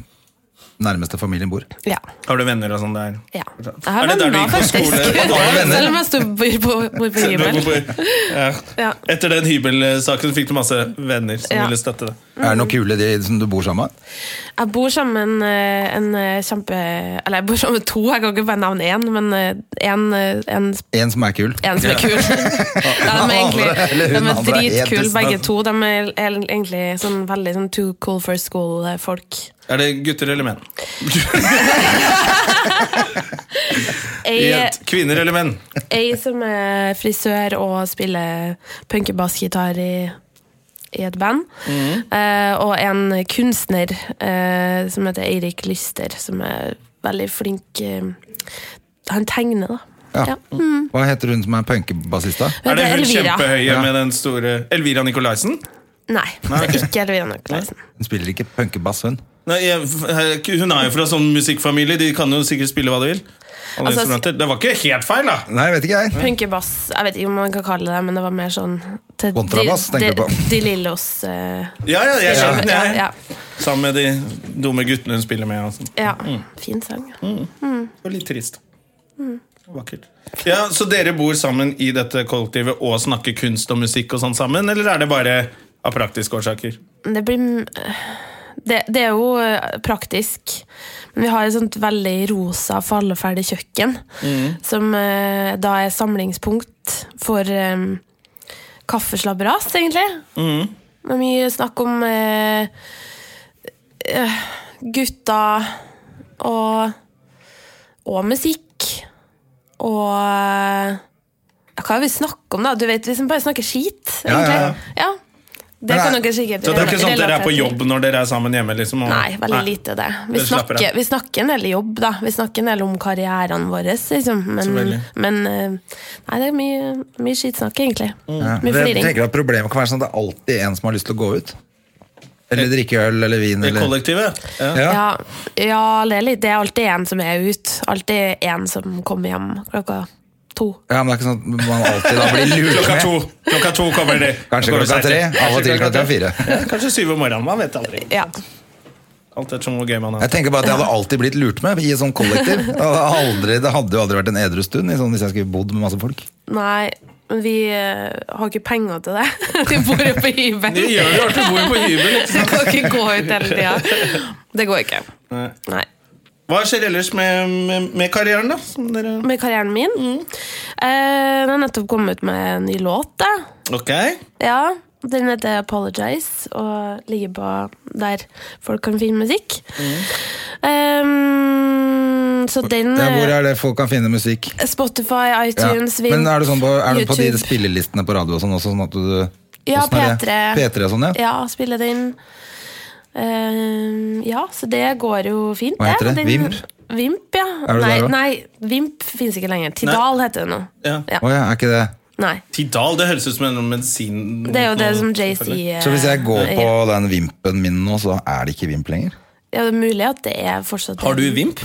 B: nærmeste familien bor.
C: Ja.
A: Har du venner og sånn der?
C: ja. Jeg har
A: Er det der du
C: venner,
A: gikk på
C: faktisk. [LAUGHS]
A: skole? Å, da har du venner.
C: Selv om jeg sto- bor på, bor på hybel.
A: Ja.
C: Ja.
A: Etter den hybelsaken fikk du masse venner som
C: Ja.
A: ville støtte deg.
B: Er
C: Mm.
B: det noen kule de som du bor sammen med?
C: Jeg bor sammen med en, eh, en eh, kjempe... Eller jeg bor sammen med to, jeg kan ikke bare nevne én, men eh, en, eh, en,
B: En som er kul?
C: en som
B: [LAUGHS]
C: er kul. de er egentlig
B: Eller
C: de
B: hun
C: er
B: andre er helt
C: dritkule,
B: snart.
C: begge to. De er er egentlig sånn, veldig sånn too cool for school-folk.
A: Er det gutter eller menn?
C: Jeg,
A: Jent, kvinner eller menn?
C: jeg som er frisør og spiller punkebassgitar i i et band. Eh, og en kunstner eh, som heter Eirik Lyster, som er veldig flink eh, Han tegner, da.
B: Ja. Hva heter hun som er punkebassist, da?
C: Hun
A: Er det
C: heter
A: hun
C: Elvira.
A: kjempehøye
B: Ja.
A: med den store Elvira Nicolaisen?
C: Nei, det er ikke Elvira Nikolaisen.
B: Hun spiller ikke punkebass, hun.
A: Nei, jeg, hun er jo fra sånn musikkfamilie, de kan jo sikkert spille hva de vil. Alle
C: Altså,
A: instrumenter. det var ikke helt feil, da!
B: Nei, vet ikke jeg.
C: Punkebass, jeg vet ikke om man kan kalle det det, men det var mer sånn til
B: Kontrabass,
C: De-
B: tenker du
C: De-
B: på?
C: De Lillos eh,
A: Ja, ja, jeg
C: ja,
A: skjønner
C: ja,
A: jeg.
C: ja,
A: Sammen med de dumme guttene hun spiller med. Og sånn.
C: ja. Fin sang.
A: Det var litt trist.
C: Mm.
A: Vakkert. Ja, Så dere bor sammen i dette kollektivet og snakker kunst og musikk og sånn sammen, eller er det bare av praktiske årsaker?
C: Det blir m- det, det er jo eh, praktisk, men vi har et sånt veldig rosa, falleferdig kjøkken,
B: Mm.
C: som eh, da er samlingspunkt for eh, kaffeslabberas, egentlig.
B: Mm.
C: Det er mye snakk om eh, eh, gutta og, og musikk og eh, Hva er det vi snakker om, da? Du vet, vi som bare snakker skit,
B: Ja, ja, ja.
C: egentlig. Ja, Det
B: Men
C: kan
B: er-
C: dere sikkert
A: Så det er ikke sånn at dere er på
C: relatere til.
A: jobb når dere er sammen hjemme? liksom? og-
C: Nei, veldig lite det. Vi
A: Dere slapper
C: snakker,
A: av.
C: vi snakker en del jobb, da. Vi snakker en del om karrieren vår, liksom. Men,
A: Selvfølgelig.
C: men eh, Nei, det er mye, mye skitsnakk, egentlig.
B: Ja.
C: Mye
B: Jeg
C: fliring.
B: tenker at Problemet kan være sånn at det er alltid en som har lyst til å gå ut. Eller drikke øl eller vin.
A: Det
B: Eller.
A: kollektivet? Ja.
B: Ja.
C: Ja, ja det, er litt, det er alltid en som er ute. Alltid en som kommer hjem klokka to.
B: ja, men det er ikke sånn at man alltid da blir lurt
A: Klokka
B: med.
A: to Klokka to kommer de.
B: Kanskje
A: Går
B: klokka
A: seg til.
B: tre, av og til klokka fire.
A: Ja, kanskje syv om morgenen. Man vet aldri.
C: Ja.
A: Alt ettersom hvor gøy man
B: Jeg
A: er.
B: tenker bare at jeg hadde alltid blitt lurt med i et sånt kollektiv. Det hadde, aldri, det hadde jo aldri vært en edru stund i sånn, hvis jeg skulle bodd med masse folk.
C: Nei, men vi eh, har ikke penger til det. [LAUGHS] Vi bor jo på hybel.
A: Det gjør det jo at du bor på hybel. ikke
C: Vi
A: sant?
C: kan ikke gå ut hele tida. Det går ikke.
A: Nei.
C: Nei.
A: Hva skjer ellers med, med, med karrieren, da? Som dere...
C: Med karrieren min. Eh, den har nettopp kommet med en ny låt, da.
A: Ok.
C: Ja, den heter Apologize og ligger på der folk kan finne musikk. Ehm, så den eh,
B: Ja, hvor er det folk kan finne musikk?
C: Spotify,
B: Ja.
C: iTunes, Vimp,
B: Men er du, sånn på, er du på de
C: YouTube.
B: spillelistene på radio og sånn også? Sånn at du,
C: Ja,
B: hvordan er det?
C: P3.
B: P3 og sånn, ja.
C: Ja, spiller den. Ehm, ja, så det går jo fint.
B: Hva heter det?
C: Den-
B: Vimp?
C: Vimp, ja.
B: Er du
C: nei,
B: der også?
C: nei, Vimp fins ikke lenger. Tidal heter det nå.
A: Ja.
C: Ja.
B: Å ja, er ikke det?
C: Nei.
A: Tidal, det høres ut som en medisin...
C: Det er jo det som JC
A: Mm, selvfølgelig.
B: Så hvis jeg går
C: eh,
B: på den vimpen min nå, så er det ikke vimp lenger? [LAUGHS]
C: Ja, det er mulig at det er fortsatt
A: Har du Vimp?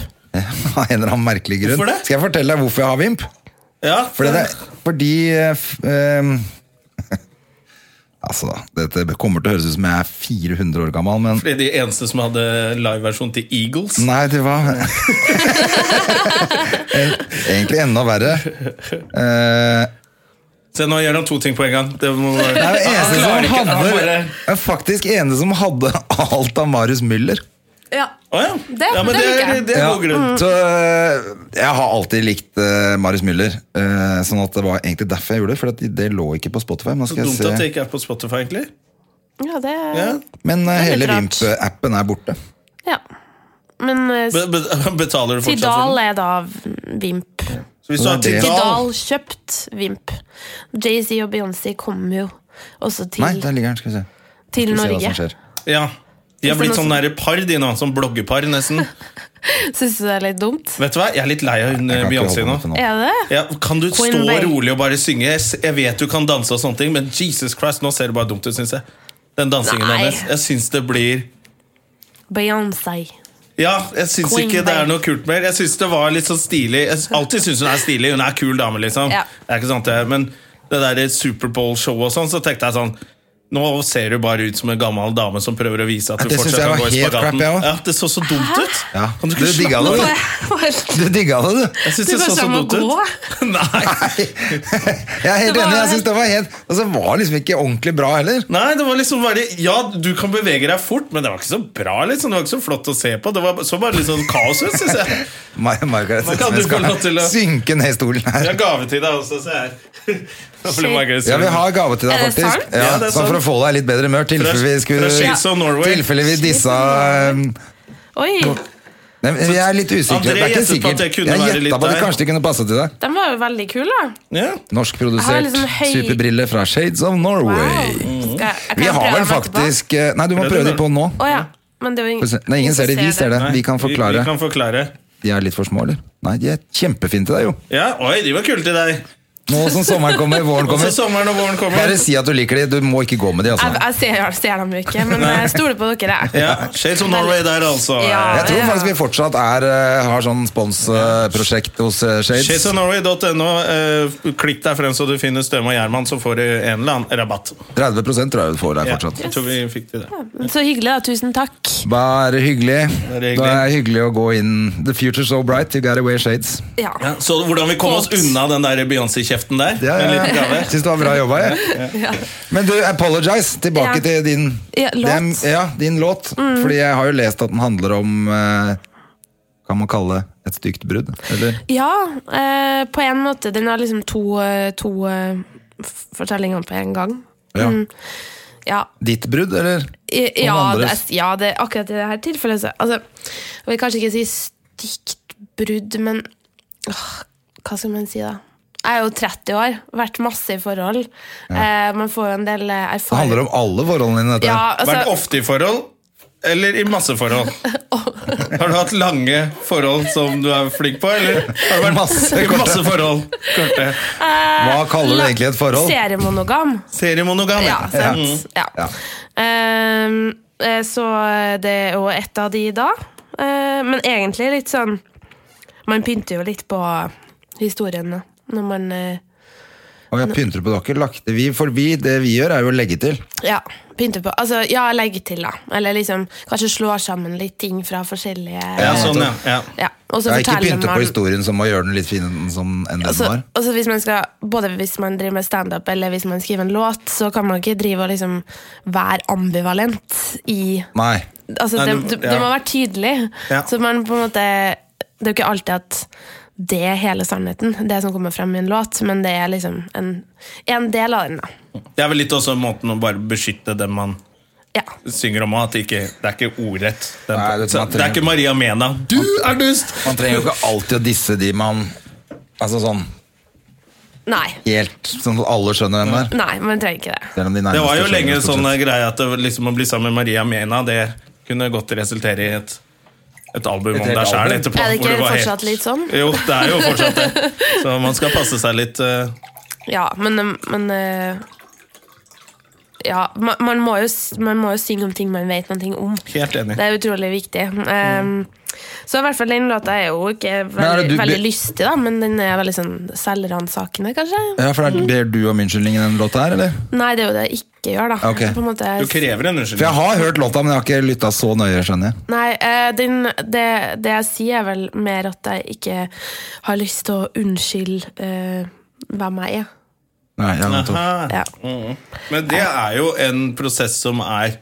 B: Av en eller annen merkelig grunn.
A: Hvorfor det?
B: Skal jeg fortelle deg hvorfor jeg har vimp?
A: Ja.
B: Fordi, det, fordi eh, f- ehm, [LAUGHS] Altså, dette kommer til å høres ut som jeg er 400 år gammel, men
A: Fordi de eneste som hadde liveversjon til Eagles.
B: Nei, det var [LAUGHS] Egentlig enda verre. Eh,
A: Se, nå gjør han to ting på en gang. Det må være...
B: Det er jo
A: Han
B: eneste
A: klarer
B: som
A: ikke, han
B: hadde
A: bare-
B: det er Faktisk eneste som hadde alt av Marius Müller.
C: Ja.
A: Å ja.
C: Det-
A: ja, men
C: det
A: det,
C: liker
A: er,
C: jeg.
A: det er god grunn.
B: Så øh, jeg har alltid likt øh, Marius Müller, øh, sånn at det var egentlig derfor jeg gjorde det. For at det lå ikke på Spotify. Men, nå
A: Så
B: skal jeg
A: dumt at det
B: se.
A: ikke er på Spotify, egentlig.
C: Ja, det
A: Ja.
B: men øh,
C: er litt
B: hele
C: rart.
B: Vimp-appen er borte.
C: Ja. Men eh,
A: Be be- [LAUGHS] betaler du fortsatt for
C: Tidal
A: den?
C: er da Vimp.
A: Så hvis du har
B: Det er det.
A: Tidal
C: Tidal kjøpt Vimp. Jay-Z og Beyoncé kommer jo også til,
B: Nei, der ligger den. Skal vi se.
C: til
B: Skal vi se hva
C: Norge.
B: som
C: [LAUGHS]
B: skjer.
A: Ja. De har blitt
C: Hvis det er
A: sånn
C: noe
A: nære par, de nå. Sånn bloggepar,
C: [LAUGHS]
A: nesten.
C: Syns du det er litt dumt?
A: Vet du hva, jeg er litt lei av
B: Jeg
A: hun eh,
B: kan ikke
A: Beyoncé
B: holde
A: nå.
B: meg til nå.
C: Er det?
A: Ja, kan du
C: Queen
A: stå
C: Bey.
A: rolig og bare synge? Jeg s- Jeg vet du kan danse og sånne ting, men Jesus Christ, nå ser det bare dumt ut, syns jeg. Den dansingen
C: Nei.
A: hennes. Jeg syns det blir
C: Beyoncé.
A: Ja, jeg syns
C: Queen
A: ikke det er
C: Bey.
A: noe kult mer. Jeg syns det var litt sånn stilig. Jeg s- alltid syns hun er stilig. Hun er kul dame, liksom.
C: Ja.
A: Det er ikke sant, det. Men det der Superbowl-showet og sånn, så tenkte jeg sånn Nå ser du bare ut som en gammel dame som prøver å vise at
B: Ja,
A: du
B: det syns
A: fortsatt
B: jeg
A: kan
B: var
A: gå i
B: helt crap,
A: spagaten.
B: jeg også.
A: Ja, det så så dumt ut.
B: Ja.
A: Kan du
B: Du
A: ikke
B: digga
A: slappe
B: det,
A: av?
B: du. Du digga det, du.
A: Jeg syns
C: Du
A: det så
C: bare
A: så
C: må
A: dumt ut. [LAUGHS] Nei.
B: Jeg er helt
C: Det var-
B: enig. jeg synes det var helt Og så var det liksom ikke ordentlig bra heller.
A: Nei, det var liksom bare Ja, du kan bevege deg fort, men det var ikke så bra. liksom Det var ikke så flott å se på. Det var, så bare litt sånn kaos ut, syns jeg.
B: Mar Margaret
A: Hva kan du
B: Settsmed
A: få lov til
B: skal
A: å-
B: synke ned i stolen
A: Jeg
B: her.
A: har gave til deg også, se [LAUGHS] her. Da ble Margaret sur.
B: Ja, vi har gave til deg,
C: Er det
B: faktisk.
C: sant?
B: Ja,
A: Ja, det er
B: sånn for å
A: sant.
B: få deg i litt bedre humør. Tilfelle vi
A: fra
B: skulle
A: Shields of Norway.
B: Tilfelle vi dissa um,
C: [LAUGHS] Oi!
B: Nei, men Jeg er litt usikker.
A: André
B: Det er ikke
A: gjettet på at
B: sikkert.
A: det kunne
B: Jeg
A: være litt
B: gjetta på at det
A: der.
B: kanskje ikke kunne passe til deg.
C: Den var jo veldig kul, da.
A: Ja.
B: Norskprodusert
C: Jeg har liksom høy-
B: superbrille fra Shades of
C: Wow.
B: Norway.
C: Skal jeg- jeg
B: Vi
C: kan
B: har
C: prøve
B: vel
C: den etterpå.
B: faktisk eh, Nei, du må
A: Prøv
B: prøve
A: det
B: de på nå.
C: Å ja. Men det er jo ingen,
B: Nei, ingen ser det. Vi ser det.
A: Nei,
B: Vi kan
A: Vi,
B: forklare.
A: vi kan forklare.
B: De er litt for små, eller? Nei, de er kjempefine til deg, jo.
A: Ja, Oi, de var kule til deg.
B: Nå som sommeren kommer, våren
A: Og så
B: kommer.
A: sommeren og våren kommer.
B: Bare si at du liker de. Du må ikke gå med de,
C: Jeg,
B: altså.
C: jeg ser, jeg ser dem jo ikke,
A: [LAUGHS]
C: men eh, jeg stoler på dere. jeg.
A: Ja, Shades of Norway der, altså.
C: Ja.
B: Jeg tror faktisk vi fortsatt er, eh, har sånn sponsprosjekt hos eh, Shades.
A: Shadesofnorway.no. eh, Klikk deg frem så du finner Støme og Gjerman, så får du en eller annen rabatt.
B: 30 tror jeg du får der
A: Ja,
B: fortsatt.
A: jeg tror vi fikk til det.
C: eh, Så hyggelig, da. Tusen takk.
B: Bare hyggelig.
A: Det er hyggelig.
B: Da er det hyggelig å gå inn. The future's so bright, you gotta wear shades.
C: Ja.
A: Ja, så hvordan vi kom oss unna den der Beyoncé-kjeften der?
B: Ja,
A: med en
B: ja, [LAUGHS]
A: liten
B: ja.
A: gave.
B: Syns det var bra jobba, jeg. Men du, apologize. Tilbake
C: Ja.
B: til din
C: Ja, låt. Mm.
B: det er- ja, din låt. Fordi jeg har jo lest at den handler om eh, Kan man kalle det et stygt brudd? Eller?
C: ja eh, på en måte. Den har liksom to, eh, to eh, f- fortellinger på en gang. Mm.
B: Ja.
C: Ja.
B: Ditt brudd, eller?
C: I-
B: Noen
C: Ja, det,
B: andres?
C: er- ja det, akkurat i dette tilfellet så, altså, Jeg vil kanskje ikke si stygt brudd, men åh, hva skal man si da? Jeg er jo 30 år, vært masse i forhold. Eh, man får jo en del eh,
B: Det
C: erfaring.
B: handler om alle forholdene dine. Dette.
C: ja,
A: Vært
C: altså,
A: ofte i forhold, eller i masse
C: [LAUGHS]
A: forhold?
C: Oh.
A: Har du hatt lange forhold som du er flink på, eller har du vært
B: Masse
C: [LAUGHS]
A: i
B: korte.
A: masse forhold? Korte.
B: Hva kaller du
C: Eh, la-
B: egentlig et forhold?
C: Seriemonogam.
A: Seriemonogam.
C: Ja, sant. Ja.
B: Ja.
C: Ehm, eh, så det er jo et av de da. Eh, men egentlig litt sånn Man pynter jo litt på historiene når man eh,
B: Og jeg pynter på dere. Lagt det. Vi, for vi, det vi gjør, er jo å legge til.
C: Ja, pynte på. Altså, ja, legge til, da. Eller liksom, kanskje slå sammen litt ting fra forskjellige
A: Ja, sånn, ja. ja.
C: Ja, og så
B: Jeg ikke
C: forteller
B: pynte på
C: man-
B: historien som å gjøre den litt finere som enn det
C: Og
B: den
C: så-
B: var.
C: og så Altså, hvis man skal, både hvis man driver med standup eller hvis man skriver en låt, så kan man ikke drive og liksom være ambivalent i
B: Nei.
C: Altså,
A: Nei,
C: det,
A: du-
C: det,
A: ja.
C: det må være tydelig.
A: Ja.
C: Så man på en måte Det er jo ikke alltid at det er hele sannheten, det som kommer frem i en låt, men det er liksom en, en del av den, da.
A: Det er vel litt også måten å bare beskytte dem man
C: Ja.
A: synger om. At det, ikke, det er ikke ordrett. Den,
B: Nei, det er
A: så,
B: sånn at-
A: det er ikke Maria Mena. Du er dust!
B: Man trenger jo ikke alltid å disse de man Altså sånn
C: Nei.
B: helt Sånn at alle skjønner hvem det er.
C: Nei, man trenger ikke det.
B: Selv om de nærmeste
A: Det var jo
B: skjønner
A: lenge
B: det stort
A: sånn
B: sett.
A: greie at det, liksom, å bli sammen med Maria Mena, det kunne godt resultere i et, et album
B: Et
A: om
B: helt
A: deg sjæl
B: album.
A: etterpå.
C: Er
A: hvor
C: det ikke
A: var helt-
C: fortsatt litt sånn?
A: Jo, det er jo fortsatt det.
C: [LAUGHS]
A: Så man skal passe seg litt. eh,
C: Ja, men, men eh, Ja, man, man, må jo, s- man må jo synge om ting man vet noe om.
A: eh, Helt enig.
C: Det er utrolig viktig. Ehm, Så i hvert fall den låta er jo ikke
B: er det
C: veldig,
B: Mm. du-
C: veldig lystig, da, men den er veldig sånn selvransakende, kanskje?
B: Ja, for det er, Ber du om unnskyldning i den låta her, eller?
C: Nei, det er jo det jeg ikke gjør, da.
B: Ok.
C: På en måte,
A: Du krever en
B: For jeg
A: unnskyldning.
B: har hørt låta, men jeg har ikke lytta så nøye, skjønner jeg.
C: Nei, eh, den, det, det jeg sier er vel mer at jeg ikke har lyst til å unnskylde eh, hvem jeg er.
B: Nei, jeg har nettopp-
A: Aha.
C: Ja.
A: Mm. Men det er jo en prosess som er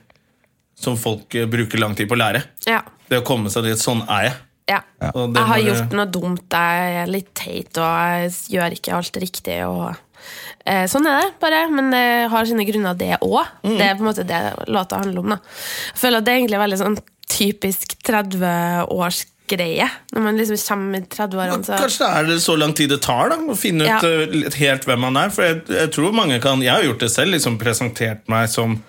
A: Som folk eh, bruker lang tid på å lære.
C: ja.
A: Det å komme seg dit. Sånn er jeg.
C: Ja.
A: Og det
C: Jeg har
A: må du-
C: gjort noe dumt, jeg er litt teit, og jeg gjør ikke alt riktig. Og, eh, sånn er det bare, men det har sine grunner, det òg. Det er på en måte det låta handler om. Da. Jeg føler at det er egentlig veldig sånn typisk 30-årsgreie. Når man liksom kommer i 30-årene, så
A: Kanskje det er det så lang tid det tar da å finne ut
C: Altså- Ja.
A: eh, litt helt hvem man er. For jeg, jeg tror mange kan Jeg har gjort det selv. liksom Presentert meg som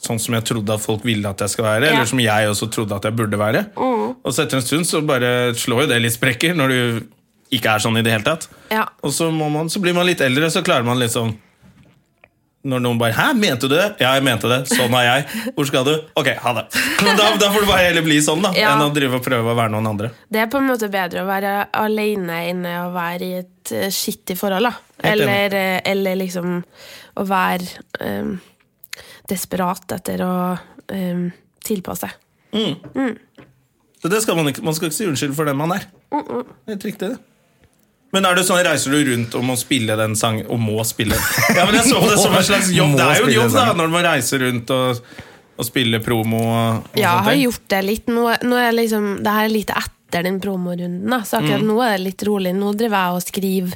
A: sånn som jeg trodde at folk ville at jeg skal være.
C: Ja. Mm.
A: Eller som jeg også trodde at jeg burde være. Og så etter en stund så bare slår jo det litt sprekker når du ikke er sånn i det hele tatt.
C: Ja.
A: Og så, må man, så blir man litt eldre, så klarer man liksom når noen bare 'Hæ, mente du det?' 'Ja, jeg mente det. Sånn er jeg. Hvor skal du?' 'Ok, ha det.' [LAUGHS] Men da, da får du bare heller bli sånn, da,
C: Ja.
A: enn å drive og prøve å være noen andre.
C: Det er på en måte bedre å være alene enn å være i et eh, skittig forhold. Da.
A: Helt enig.
C: Eller, eh, eller liksom å være em, desperat etter å em, tilpasse seg.
A: Så det skal man, ikke, man skal ikke si unnskyld for den man er. Det er helt riktig, det. Men er det sånn, reiser du rundt og må spille den sangen Og må spille den? Ja, men jeg så på det som en slags jobb. Det er jo en jobb, da, når man reiser rundt og, og spiller promo. Og, og
C: Ja, jeg
A: sånne
C: har
A: ting.
C: gjort det litt. Nå, nå er liksom, det her er litt etter den promorunden, da. så
B: Mm.
C: akkurat nå er det litt rolig. Nå driver jeg og skriver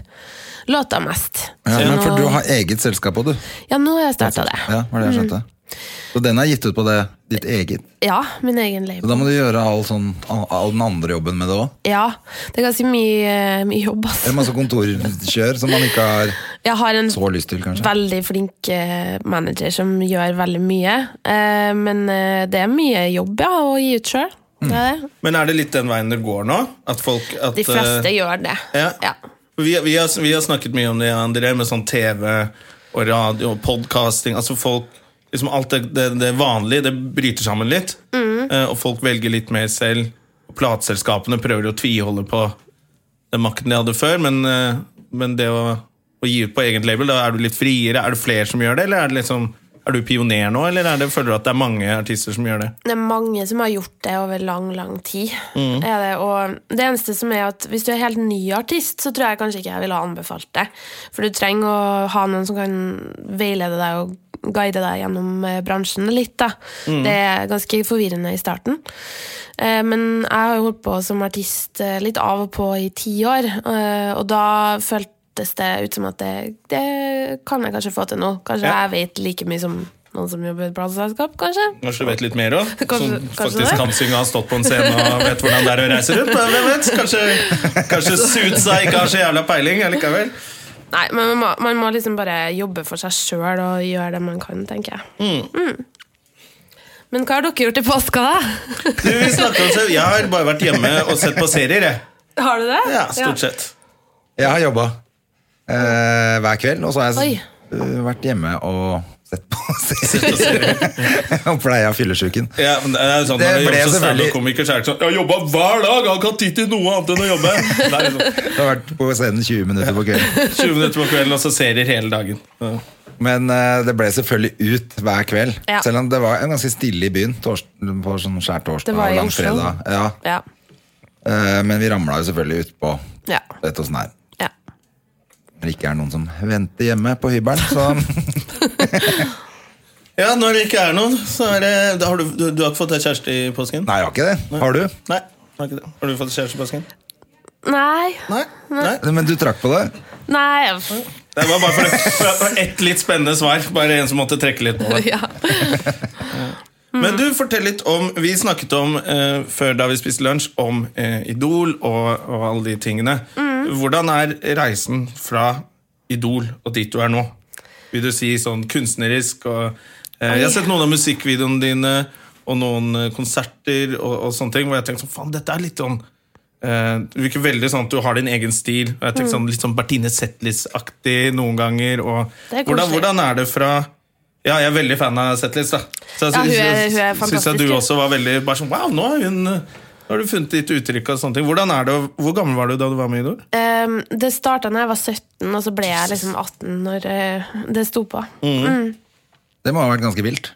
C: låter mest.
B: Ja,
C: Så
B: men
C: nå,
B: for du har eget selskap òg, du.
C: ja, nå har jeg starta det.
B: Ja, var det jeg
C: Mm.
B: skjønte. Så den er gitt ut på det, ditt eget.
C: Ja, min egen
B: Så
C: label.
B: da må du gjøre all, sånn, all, all den andre jobben med det òg.
C: Ja, det er ganske mye, mye jobb, ass.
B: Det er masse kontorkjør som man ikke har
C: Jeg har en
B: så lyst til, kanskje.
C: veldig flink eh, manager som gjør veldig mye. Eh, Men eh, det er mye jobb ja, å gi ut sjøl.
A: Men er det litt den veien det går nå? At folk Mm. at,
C: De fleste
A: eh,
C: gjør det.
A: ja.
C: Ja.
A: Vi, vi, har, vi har snakket mye om det, André, med sånn TV og radio og podcasting. Altså folk liksom Alt det, det, det vanlige, det bryter sammen litt. Eh, Og folk velger litt mer selv. Og plateselskapene prøver å tviholde på den makten de hadde før, men, eh, men det å, å gi ut på eget label, da er du litt friere. Er det flere som gjør det, eller er det liksom er du pioner nå, eller er det, føler du at det er mange artister som gjør det?
C: Det er mange som har gjort det over lang, lang tid. Er det, og det eneste som er at hvis du er helt ny artist, så tror jeg kanskje ikke jeg ville ha anbefalt det. For du trenger å ha noen som kan veilede deg og guide deg gjennom eh, bransjen litt. Da. Det er ganske forvirrende i starten. Eh, Men jeg har jo holdt på som artist eh, litt av og på i ti år, eh, og da føltes det ut som at det, det kan jeg kanskje få til nå. Kanskje
A: Ja.
C: jeg vet like mye som noen som jobber i et plateselskap, kanskje.
A: Kanskje du vet litt mer òg?
C: Kanskje-
A: Som
C: kanskje
A: faktisk
C: det.
A: kan synge og har stått på en scene og vet hvordan det er å reise rundt? men Hvem vet? Kanskje, kanskje Suitsa ikke har så jævla peiling allikevel?
C: Nei, men man må, man må liksom bare jobbe for seg sjøl og gjøre det man kan, tenker jeg. Mm. Men hva har dere gjort i påska, da?
A: Du, vi snakker om selv. Jeg har bare vært hjemme og sett på serier, jeg.
C: Har du det?
A: Ja, stort sett.
B: Jeg har jobba eh, hver kveld, og så har jeg s- eh, vært hjemme og sett på [LAUGHS] serier.
A: Sett på serier.
B: og pleia fyllesyken.
A: Ja, men det er jo sånn,
B: Det ble
A: når du jobber som
B: selvfølgelig-
A: standup-komiker, så er det ikke sånn Jeg har jobba hver dag! Jeg har ikke hatt tid til noe annet enn å jobbe! Det er liksom
B: Jeg har vært på scenen 20 minutter på kvelden.
A: 20 minutter på kvelden, og så serier hele dagen. Ja.
B: Men eh, det ble selvfølgelig ut hver kveld.
C: Ja.
B: Selv om det var en ganske stille i byen. Tors, på sånn skjær
C: Det
B: torsdag
C: var i
B: og
C: Oslo.
B: langfredag. Ja.
C: Ja.
B: Eh, men vi ramla jo selvfølgelig utpå
C: Ja.
B: dette åssen det er.
C: ja.
B: Når det sånn ikke er noen som venter hjemme på hybelen, så
A: ja, når det ikke er noen, så er det da har du, du, du har ikke fått deg kjæreste i påsken?
B: Nei, jeg har ikke det. Har du?
A: Nei. Har, ikke det. har du fått kjæreste i påsken?
C: Nei.
A: Nei. Nei.
B: Men du trakk på det?
C: Nei. pff,
A: Det var bare for, for det var ett litt spennende svar. Bare en som måtte trekke litt på det.
C: [LAUGHS] Ja.
A: Men du, fortell litt om Vi snakket om eh, før da vi spiste lunsj, om eh, Idol og, og alle de tingene.
C: Mm.
A: Hvordan er reisen fra Idol og dit du er nå? Vil du si sånn kunstnerisk og eh, Jeg har sett noen av musikkvideoene dine og noen eh, konserter og, og sånne ting hvor jeg tenkte sånn Faen, dette er litt sånn eh, Det virker veldig sånn at du har din egen stil. Og jeg
C: Mm.
A: tenkte sånn Litt sånn Bertine Zetlitz-aktig noen ganger.
C: Det er
A: Og
C: koselig.
A: hvordan, hvordan er det fra ja, jeg er veldig fan av Zetlitz. da. Så jeg
C: Ja, hun
A: sy-
C: er- hun er
A: sy-
C: fantastisk,
A: syns jeg du
C: ja.
A: også var veldig bare sånn, Wow, nå har, hun, nå har du funnet ditt uttrykk og sånne ting. Hvordan er det, å- Hvor gammel var du da du var med i Idol?
C: Um, det starta da jeg var 17, og så ble jeg liksom 18 når eh, det sto på.
B: Det må ha vært ganske vilt.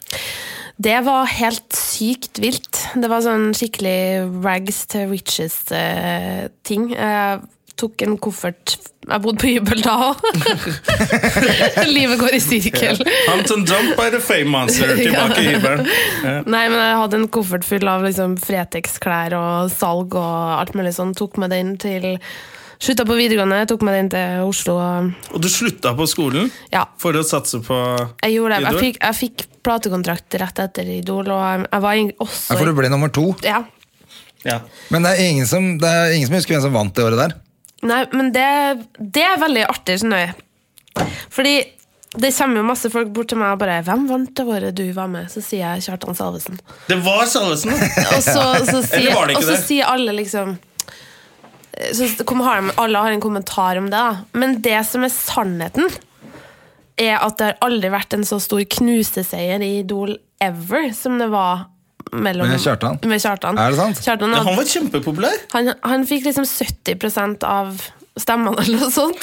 C: Det var helt sykt vilt. Det var sånn skikkelig rags to riches-ting. eh, tok en koffert Jeg bodde på hybel da òg. [LAUGHS] Livet går i sirkel.
A: Hunt and dump by the fame
C: [LAUGHS]
A: monster tilbake i hybelen. Ja.
C: Nei, men jeg hadde en koffert full av liksom Fretex-klær og salg og alt mulig sånn. Tok med den til Slutta på videregående, tok med den til Oslo. og-
A: Og du slutta på skolen
C: Ja,
A: for å satse på
C: jeg gjorde det. Jeg
A: Idol?
C: fikk, jeg fikk platekontrakt rett etter Idol, og jeg var egentlig også
B: Ja, for du ble nummer to.
C: ja.
A: ja.
B: Men det er ingen som, det er ingen som husker hvem som vant det året der.
C: Nei, men det, det er veldig artig, skjønner jeg. Fordi det kommer jo masse folk bort til meg og bare 'Hvem vant det året du var med?' Så sier jeg Kjartan Salvesen.
A: Det var Salvesen!
C: [LAUGHS] Og så, så, sier,
A: var det ikke
C: og så
A: det?
C: sier alle liksom så kom, har de, Alle har en kommentar om det, da. Men det som er sannheten, er at det har aldri vært en så stor knuseseier i Idol ever som det var mellom,
B: Med Kjartan?
C: Med Kjartan.
B: Er det sant?
C: Kjartan
A: Ja,
C: hadde-
A: han var kjempepopulær!
C: han, han fikk liksom 70 av stemmene eller noe sånt.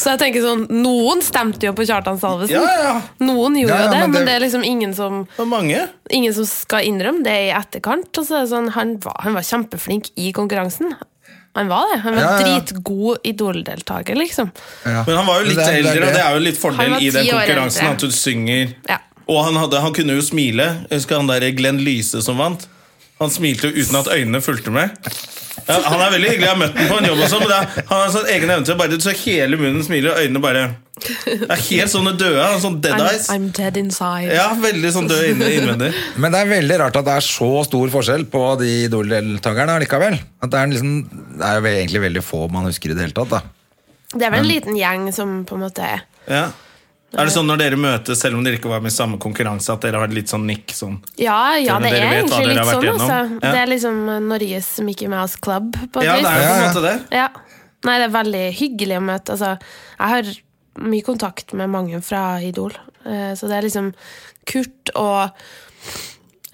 C: Så jeg tenker sånn, noen stemte jo på Kjartan Salvesen.
A: Ja, ja.
C: Noen gjorde
B: Ja, ja,
C: jo det,
B: men
C: men det,
B: det-
C: er liksom ingen som,
A: Det var mange.
C: ingen som skal innrømme det i etterkant. Og så er det sånn, han var, han var kjempeflink i konkurransen. Han var det. Han var
B: Ja, ja, ja.
C: dritgod idoldeltaker, liksom.
B: Ja.
A: Men han var jo litt
B: Det er- det er
A: eldre, og
B: det.
A: det er jo litt fordel
C: Han var
A: i den
C: ti år
A: konkurransen
C: eldre.
A: at du synger.
C: Ja.
A: Og han, hadde, han kunne jo smile. Husker han der Glenn Lyse som vant? Han smilte jo uten at øynene fulgte med. Ja, han er veldig hyggelig, jeg har møtt ham på en jobb også, men det er, han har en sånn egen evne til å bare så hele munnen smiler, og øynene bare Det er helt sånne døde. han er Sånn dead
C: I'm,
A: eyes.
C: I'm dead inside.
A: Ja, veldig sånn død inne- innvendig.
B: Men det er veldig rart at det er så stor forskjell på de Idol-deltakerne allikevel. At det er, en liksom, det er jo ve- egentlig veldig få man husker i det hele tatt. Da.
C: Det er vel en liten gjeng som på en måte er
A: Ja. Er det sånn når dere møtes, selv om dere ikke var med i samme konkurranse, at dere har litt sånn nikk sånn?
C: Ja, ja
A: Selv om
C: det er
A: dere vet hva
C: egentlig
A: dere
C: litt
A: har
C: sånn.
A: vært
C: Altså.
A: igjennom. Ja.
C: Det er liksom eh, Norges Mickey Mouse Club. På et
A: Ja,
C: vis.
A: det er jo på en måte det.
C: Ja. Nei, det er veldig hyggelig å møte. Altså, jeg har mye kontakt med mange fra Idol. Eh, Så det er liksom Kurt og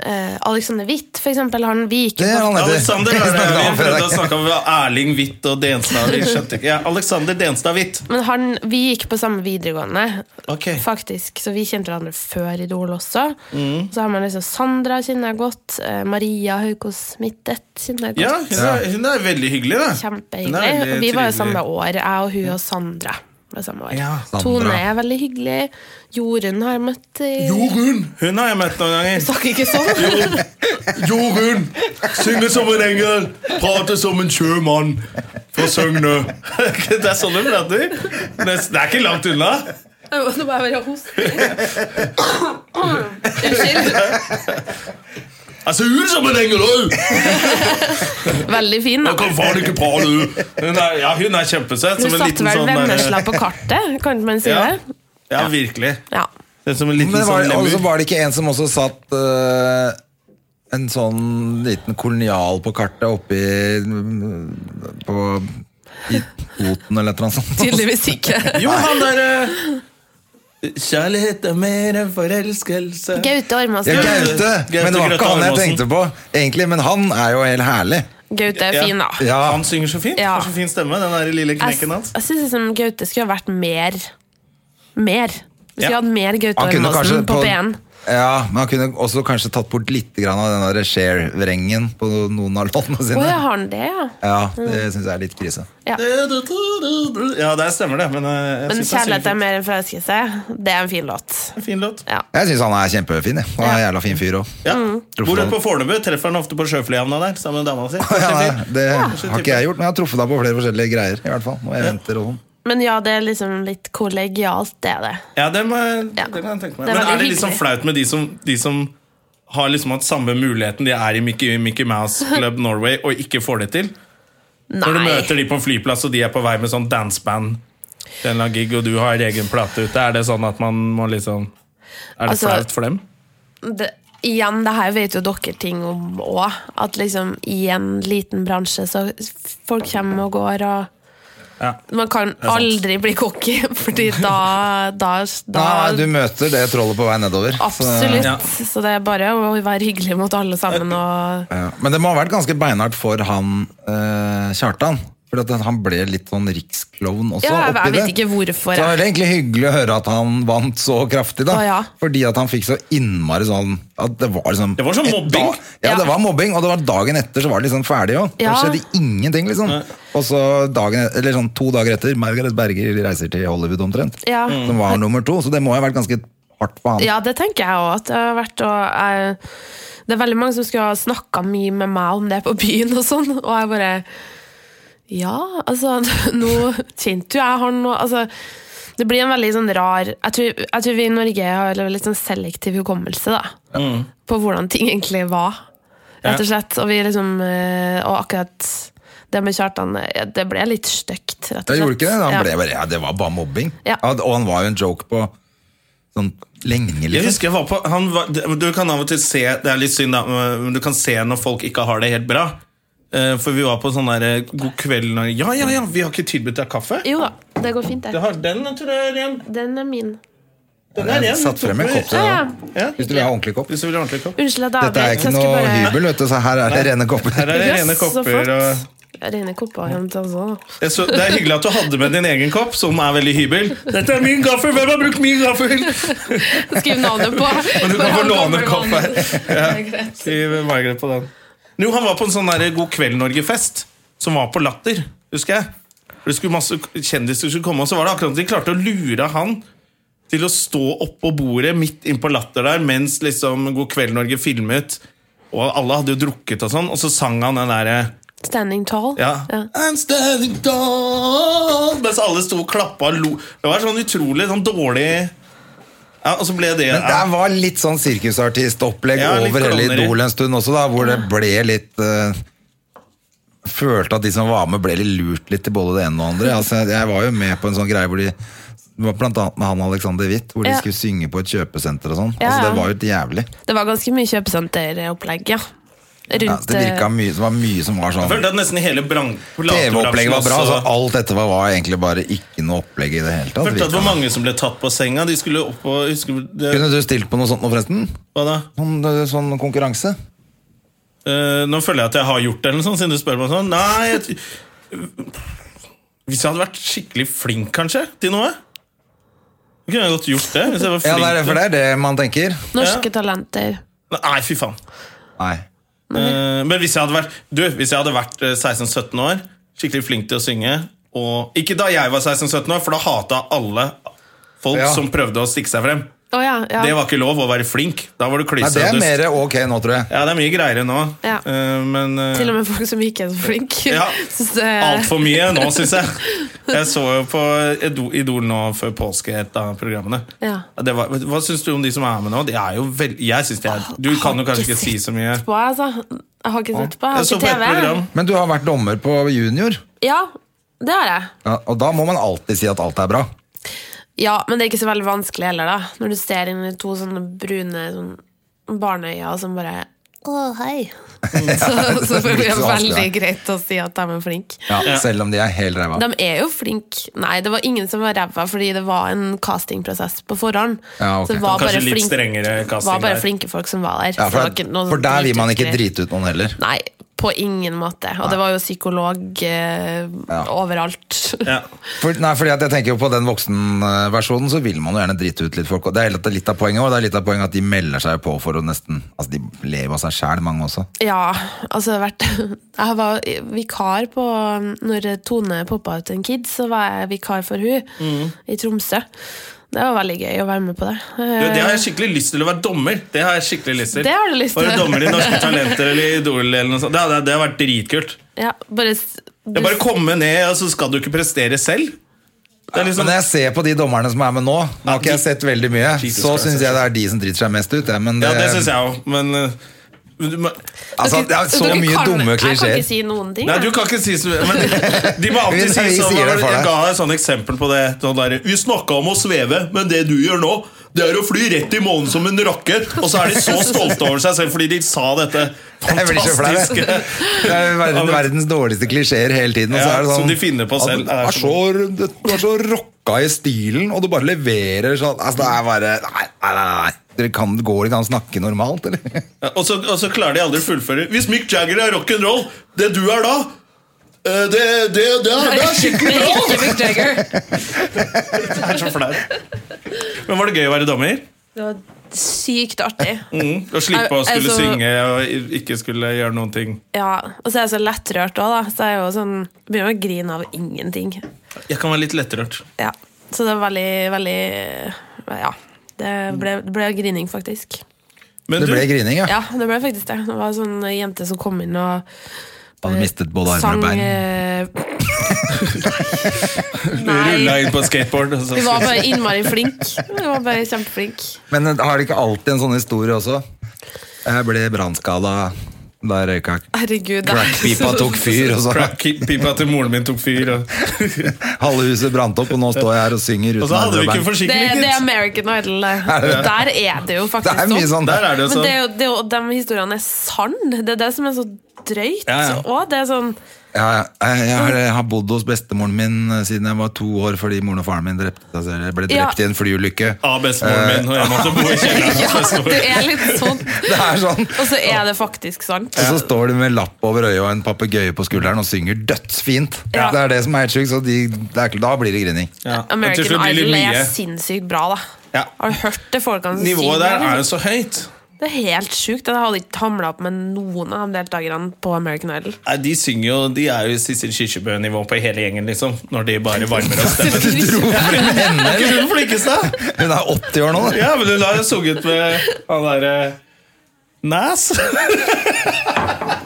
C: eh, Alexander Witt, for eksempel. Han vi gikk
B: Det
C: jo
B: er
C: på
B: han heter.
A: Alexander
B: Vi
A: er det,
B: snakket om
A: vi
B: han før i
A: prøvde å
B: dag.
A: snakke om Erling Hvitt og Denstad. Vi skjønte ikke. Ja, Alexander Denstad Hvitt.
C: men han, vi gikk på samme videregående,
A: Ok.
C: faktisk, så vi kjente hverandre før Idol også.
B: Mm.
C: Så har man liksom Sandra kjenner jeg godt, eh, Maria Haukås Mittet kjenner jeg godt.
A: Ja, hun er, hun er veldig hyggelig, da. Hun er
C: Kjempehyggelig.
A: veldig
C: Og vi var jo samme
A: trivelig.
C: år, jeg og hun og Sandra. Var samme år.
A: Ja,
B: Sandra.
C: Tone er veldig hyggelig. Jorunn har jeg møtt i
A: Jorunn! Hun har jeg møtt noen ganger.
C: Snakker ikke sånn!
A: [LAUGHS] Jorunn! Synge som en engel, prate som en sjømann fra Søgne. [LAUGHS] det er sånn hun prater. Det er det er ikke langt unna.
C: Nå må jeg bare hoste. Unnskyld.
A: Jeg ser ut Altså, som en engel òg!
C: Veldig fin, da.
A: Jeg kan faen ikke prate! du. Hun er, ja, hun er kjempesøt.
C: Hun
A: Som en
C: satte
A: liten
C: vel
A: sånn
C: Vennesla på kartet, kan man si
A: Ja.
C: det?
A: Ja, virkelig.
C: Ja.
A: Det er som en liten
B: Men det var,
A: sånn
B: og så
A: lemur.
B: var det ikke en som også satt eh, en sånn liten kolonial på kartet oppi mm, på, i Toten eller et eller annet sånt.
C: Tydeligvis
A: [LAUGHS]
C: ikke.
A: Jo, han der eh, Kjærlighet er mer enn forelskelse.
C: Gaute Ormås.
B: Ja,
A: Gaute.
B: Gaute! Men det var
A: Grøtta
B: ikke han jeg
A: Armasen.
B: tenkte på, egentlig. Men han er jo helt herlig.
C: Gaute er
A: Ja.
C: fin, da.
B: Ja,
A: Han synger så fint.
C: Ja.
A: Har så fin stemme, den der lille
C: Jeg,
A: knekken hans.
C: jeg syns liksom Gaute skulle ha vært mer. Mer. Vi skulle
A: Ja.
C: hatt mer Gaute
B: Han kunne kanskje
C: Ormåsen på P1.
B: Ja, men han kunne også kanskje tatt bort litt grann av den der share-vrengen på noen av låtene
C: Å,
B: sine.
C: ja, har han det, ja?
B: Ja, det syns jeg er litt krise.
A: Ja, der stemmer det. Men, eh, jeg
C: Men
A: synes han synger
C: 'Kjærlighet er
A: fint.
C: mer enn forelskelse', det er en fin låt.
A: Fin låt.
C: Ja.
B: Jeg syns han er kjempefin. Jeg. Han er en jævla fin fyr
C: Mm.
B: òg.
A: Ja.
B: Truffet
A: Bor
B: han.
A: du på Fornebu, treffer han ofte på sjøflyhavna der sammen med dama si.
B: [LAUGHS] Ja, nei, det
A: så
B: har ikke jeg gjort, men jeg har truffet deg på flere forskjellige greier. I hvert fall, og eventer og sånn.
C: Men ja, det er liksom litt kollegialt, det er det.
A: Ja, det, må,
C: Ja.
A: det kan jeg tenke meg.
C: Det er
A: Men
C: veldig
A: er det litt sånn
C: hyggelig.
A: flaut med de som, de som har liksom hatt samme muligheten de er i Mickey, Mickey Mouse Club Norway, og ikke får det til? Når du
C: Nei.
A: møter de på en flyplass, og de er på vei med sånn danseband til en eller annen gig, og du har egen plate ute, er det sånn at man må liksom Er det
C: Altså-
A: flaut for dem?
C: Det, igjen, det her vet jo dere ting om òg. At liksom i en liten bransje så folk kommer og går og
A: Ja.
C: Man kan
A: er sant.
C: aldri bli cocky, [LAUGHS] fordi da, da,
A: [LAUGHS]
C: da
B: Nei, du møter det trollet på vei nedover. så-
C: Absolutt.
A: Ja.
C: Så det er bare å være hyggelig mot alle sammen og
B: Ja. Men det må ha vært ganske beinhardt for han eh, Kjartan. For at han ble litt sånn riksklovn også.
C: Ja, jeg- jeg
B: oppi
C: vet
B: det.
C: ikke hvorfor
B: Så det var
C: jeg-
B: egentlig hyggelig å høre at han vant så kraftig, da.
C: Å, ja.
B: Fordi at han fikk så innmari sånn at Det var liksom
A: Det var sånn
B: et
A: mobbing.
B: dag- ja,
C: Ja.
B: det var mobbing, og det var dagen etter så var det liksom ferdig òg.
C: Ja.
B: Det skjedde ingenting, liksom. Og så dagen, eller sånn to dager etter, Margaret Berger reiser til Hollywood omtrent.
C: Ja.
B: Som var nummer to, så det må ha vært ganske hardt for han.
C: Ja, det tenker jeg òg. At det har vært og jeg, Det er veldig mange som skulle ha snakka mye med meg om det på byen og sånn, og jeg bare Ja, altså, [LAUGHS] nå kjente jo jeg han og Altså, det blir en veldig sånn rar Jeg tror, jeg tror vi i Norge har litt sånn selektiv hukommelse, da.
B: Mm.
C: På hvordan ting egentlig var, rett og slett. Og vi liksom eh, Og akkurat det med Kjartan, eh, det ble litt stygt, rett og slett.
B: Jeg gjorde ikke det. Han
C: Ja.
B: ble bare, ja, det var bare mobbing.
C: Ja.
B: At- Og han var jo en joke på sånn lenge,
A: Jeg
B: liksom.
A: husker jeg var på han var, Du kan av og til se Det er litt synd, da, men du kan se når folk ikke har det helt bra. Eh, For vi var på sånn der eh, God kveld Norge. Ja, ja, ja, vi har ikke tilbudt deg kaffe.
C: Jo da, det går fint,
A: Det
C: det.
A: har den, tror jeg, er ren.
C: Den er min.
A: Den er
B: Jeg
A: ren.
B: satt frem en kopp til
C: Ja, ja.
B: deg. Hvis du vil ha ordentlig kopp.
A: Hvis du vil ha ordentlig kopp.
C: Unnskyld at jeg
B: Dette er
C: avbrøt.
B: ikke
C: Jeg
B: noe
C: skulle bare-
B: hybel, vet du, så her er det rene kopper.
A: Her er det
C: Yes,
A: rene
C: så flott.
A: kopper. Og
C: Rene kopper hjem til oss også.
A: jeg så, det er hyggelig at du hadde med din egen kopp, som er veldig hybel. Dette er min gaffel! Hvem har brukt min gaffel?
C: Skriv navnet på.
A: Men du kan få låne kopp her.
C: Ja.
A: Skriv Margaret på den. Jo, han var på en sånn der God kveld Norge-fest, som var på Latter, husker jeg. For Det skulle masse kjendiser skulle komme, og så var det akkurat som de klarte å lure han til å stå oppå bordet midt innpå Latter der, mens liksom God kveld Norge filmet, og alle hadde jo drukket og sånn, og så sang han den derre
C: [LAUGHS] Standing tall.
A: ja. I'm standing tall Mens alle sto og klappa og lo. Det var sånn utrolig sånn dårlig ja, Og så ble
B: [LAUGHS]
A: det
B: Men det var litt sånn sirkusartistopplegg
A: Ja, litt
B: over hele
A: klovneri.
B: Idol en stund også, da, hvor det ble litt eh, Følte at de som var med, ble litt lurt litt til både det ene
C: [LAUGHS]
B: og det andre. Altså, jeg var jo med på en sånn greie hvor de det var Blant annet med han Alexander Witt, hvor de
C: Ja.
B: skulle synge på et kjøpesenter og sånn.
C: Ja,
B: Altså,
C: ja.
B: det var jo et jævlig.
C: Det var ganske mye kjøpesenteropplegg, ja.
B: Ja,
C: Rundt
B: det virka
C: eh,
B: mye, det var mye som var
A: Jeg
B: sånn
A: følte at nesten hele bran-
B: TV-opplegget var bra.
A: også-
B: Altså, alt dette var, var egentlig bare ikke noe opplegg i det hele tatt.
A: Jeg følte at det var
B: virka.
A: mange som ble tatt på senga. De skulle opp og husker, det,
B: Kunne du stilt på noe sånt nå, forresten?
A: Hva da?
B: Sånn, sånn konkurranse?
A: Eh, nå føler jeg at jeg har gjort det, eller noe sånt, siden du spør meg sånn. Nei, jeg, Hvis jeg hadde vært skikkelig flink, kanskje, til noe Da kunne jeg godt gjort det. Hvis jeg var
B: Ja,
A: flink
B: det er, for det er det man tenker.
C: norske talenter.
A: til- Nei, fy faen.
B: Nei.
A: Eh, men hvis jeg hadde vært Du, hvis jeg hadde vært eh, 16-17 år, skikkelig flink til å synge og, Ikke da jeg var 16-17 år, for da hata alle folk
B: Ja.
A: som prøvde å stikke seg frem.
C: Å ja, ja.
A: Det var ikke lov å være flink. Da var du
B: Nei,
A: klyse
B: det
A: og
B: er
A: dust.
B: mer ok nå, tror jeg.
A: Ja, det er mye greiere nå.
C: Ja.
A: Eh, men uh,
C: Til og med folk som ikke er [LAUGHS] så flinke.
A: Ja.
C: Synes det-
A: altfor mye nå, syns jeg. Jeg så jo på Edo- Idol nå før påske et av programmene.
C: Ja.
A: Det var, hva syns du om de som er med nå? De er jo vel, jeg synes de er, Du
C: Jeg har
A: kan jo kanskje ikke si så mye.
C: sett På, altså. Jeg har ikke sett på. Jeg
A: Jeg
C: har
A: så
C: ikke
A: på et
C: TV.
A: program.
B: Men du har vært dommer på junior,
C: Ja, det har jeg.
B: ja, og da må man alltid si at alt er bra.
C: Ja, men det er ikke så veldig vanskelig heller, da. Når du ser inn i to sånne brune sånn barneøyne som bare Å, hei.
B: [LAUGHS]
C: Så,
B: det er
C: så blir det
B: ikke så vanskelig,
C: veldig
B: da.
C: greit å si at de er flinke.
B: Ja, Selv om de er helt ræva.
C: De er jo flinke. Nei, det var ingen som var ræva, fordi det var en castingprosess på forhånd.
B: Ja, ok.
C: Så det var
A: Kanskje
C: bare,
A: litt
C: flink,
A: strengere
C: var
A: casting
C: bare
A: der.
C: flinke folk som var der.
B: Ja,
C: så
B: for,
C: det var ikke noe
B: for
C: sånn
B: der vil man ikke
C: dritutgreier.
B: drite ut noen heller.
C: Nei, på ingen måte. Og det var jo psykolog eh,
B: Ja.
C: overalt.
A: Ja.
B: For, nei, fordi at jeg tenker jo På den voksenversjonen så vil man jo gjerne drite ut litt folk. Og det er litt- litt av poenget også, det er litt av poenget at de melder seg på for å nesten Altså, de lever av seg sjæl, mange også.
C: Ja, altså det har vært [LAUGHS] Jeg var vikar på Når Tone poppa ut en kid, så var jeg vikar for hun i Tromsø. Det var veldig gøy å være med på det.
A: Du, det har jeg skikkelig lyst til å være dommer. Det har jeg skikkelig lyst til.
C: Eh. Det har du lyst til.
A: Være dommer i
C: [LAUGHS]
A: Norske Talenter eller Idol eller noe sånt. Det hadde, det hadde vært dritkult.
C: Eh, Ja, bare, s-
A: Det er bare å komme ned, og så skal du ikke prestere selv. Det er
B: Men
A: liksom
B: når jeg ser på de dommerne som er med nå, nå har ikke jeg sett veldig mye,
A: Jesus
B: så
A: Christ,
B: syns jeg det er de som driter seg mest ut. Ja, men
A: Ja, det syns jeg òg, men eh, men du må-
B: Altså, det er så
C: Dere
B: mye
C: kan-
B: dumme
C: Jeg kan
B: klisjeer.
C: ikke si noen ting.
A: Nei,
C: jeg.
A: du kan ikke si så men De
B: [LAUGHS] Vi-
A: må alltid si
B: vi
A: sånn
B: sier det for
A: Jeg
B: deg.
A: ga deg et sånt eksempel på det. Sånn der, vi snakka om å sveve, men det du gjør nå, det er å fly rett i månen som en rakett. Og så er de så stolte over seg selv fordi de sa dette
B: Jeg blir så flau. jeg.
A: fantastiske
B: Det er verdens, verdens dårligste klisjeer hele tiden. Og så
A: Ja,
B: er det sånn,
A: som de finner på selv.
B: Du er så, du er så rocka i stilen, og du bare leverer sånn altså, Det er bare Nei, nei, nei. nei. Dere kan, går det ikke an å snakke normalt, eller?
A: og så, og så klarer de aldri å fullføre. Hvis Mick Jagger er rock'n'roll, det du er da
D: Eh, Det, det, det, er, det er skikkelig
C: [LAUGHS] Det er ikke Mick Jagger.
A: Det er så flaut. Men var det gøy å være dommer?
C: Det var sykt artig.
A: Mm. Å slippe å
C: Al-
A: skulle
C: altså-
A: synge og ikke skulle gjøre noen ting.
C: Ja, Og så er jeg så lettrørt òg, da. Så jeg er jo sånn, begynner å grine av ingenting.
A: Jeg kan være litt lettrørt.
C: Ja, Så det er veldig, veldig Ja. Det ble, det ble grining, faktisk.
A: Men
B: Det
A: du,
B: ble grining, ja.
C: Ja, det ble faktisk det. Det var en sånn jente som kom inn og
B: Hadde mistet både armer
C: sang
B: og [LAUGHS] bein.
C: eh,
A: rulla
C: Nei.
A: inn på et skateboard. og så-
C: Vi var bare innmari flink Vi var bare kjempeflink
B: Men eh, har de ikke alltid en sånn historie også? Jeg ble brannskada da jeg røyka
C: Herregud, det er
B: crackpipa
C: så-
B: tok fyr, og så
A: Crack-pipa til moren min tok fyr. Og,
B: halve huset brant opp, og nå står jeg her og synger
A: og
B: uten
A: så hadde
B: armer
A: vi
B: og
A: ikke
B: bein.
C: Det,
A: forsikring,
C: det er
A: gitt.
C: American Idol det. Der er det jo
B: Det
C: faktisk
B: er mye sånn
A: Der er det jo
C: Men det er
A: sånn.
C: jo, det er jo, de historiene er sann Det er det som er så drøyt
A: Ja, ja.
C: Og det er sånn
B: Ja, jeg, jeg, har, jeg har bodd hos bestemoren min eh, siden jeg var to år fordi moren og faren min drepte seg selv. Jeg ble
C: Ja.
B: drept i en flyulykke.
A: Av bestemoren min, og jeg måtte bo i kjelleren.
C: [LAUGHS] Ja,
A: hos
C: det
A: bestemor.
C: er litt sånn
B: [LAUGHS] Det er sånn.
C: Og så er det faktisk sant
B: Og så står de med lapp over øyet og en papegøye på skulderen og synger dødsfint.
C: Ja.
B: Det er det som er helt sjukt, så de, det er, da blir det
A: [LAUGHS]
B: grining.
A: Ja. Men til
C: [LAUGHS] American
A: slutt blir det
C: Idol er
A: mye.
C: sinnssykt bra da
A: Ja.
C: Har du hørt det folkene som
A: Nivået der
C: liksom?
A: er jo så høyt.
C: Det er helt sjukt. Jeg hadde ikke hamla opp med noen av de deltakerne på American Idol.
A: Nei, de synger jo De er jo i Sissel Kyrkjebø-nivå på hele gjengen, liksom. Når de bare varmer opp stemmen.
B: Henne,
A: Er ikke hun flinkest, da?
B: hun er 80 år nå, da.
A: Ja, men hun har jo sunget med han derre Nas. [LAUGHS]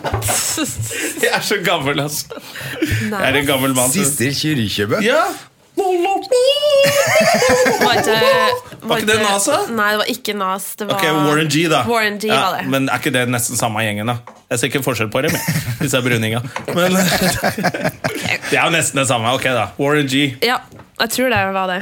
A: Jeg er så gammel, altså. Jeg er en gammel mann. så-
B: Sissel Kyrkjebø.
A: Ja!
C: Var ikke,
A: [LAUGHS] Var ikke det Nas, da?
C: Nei, det var ikke Nas. Det var
A: Ok, Warren G, da.
C: Warren G
A: ja,
C: var det.
A: Men er ikke det nesten samme gjengen, da? Jeg ser ikke forskjell på dem, jeg, disse bruninga.
C: [LAUGHS]
A: Men Det er jo nesten det samme. Ok, da. Warren G.
C: Ja, jeg tror det var det.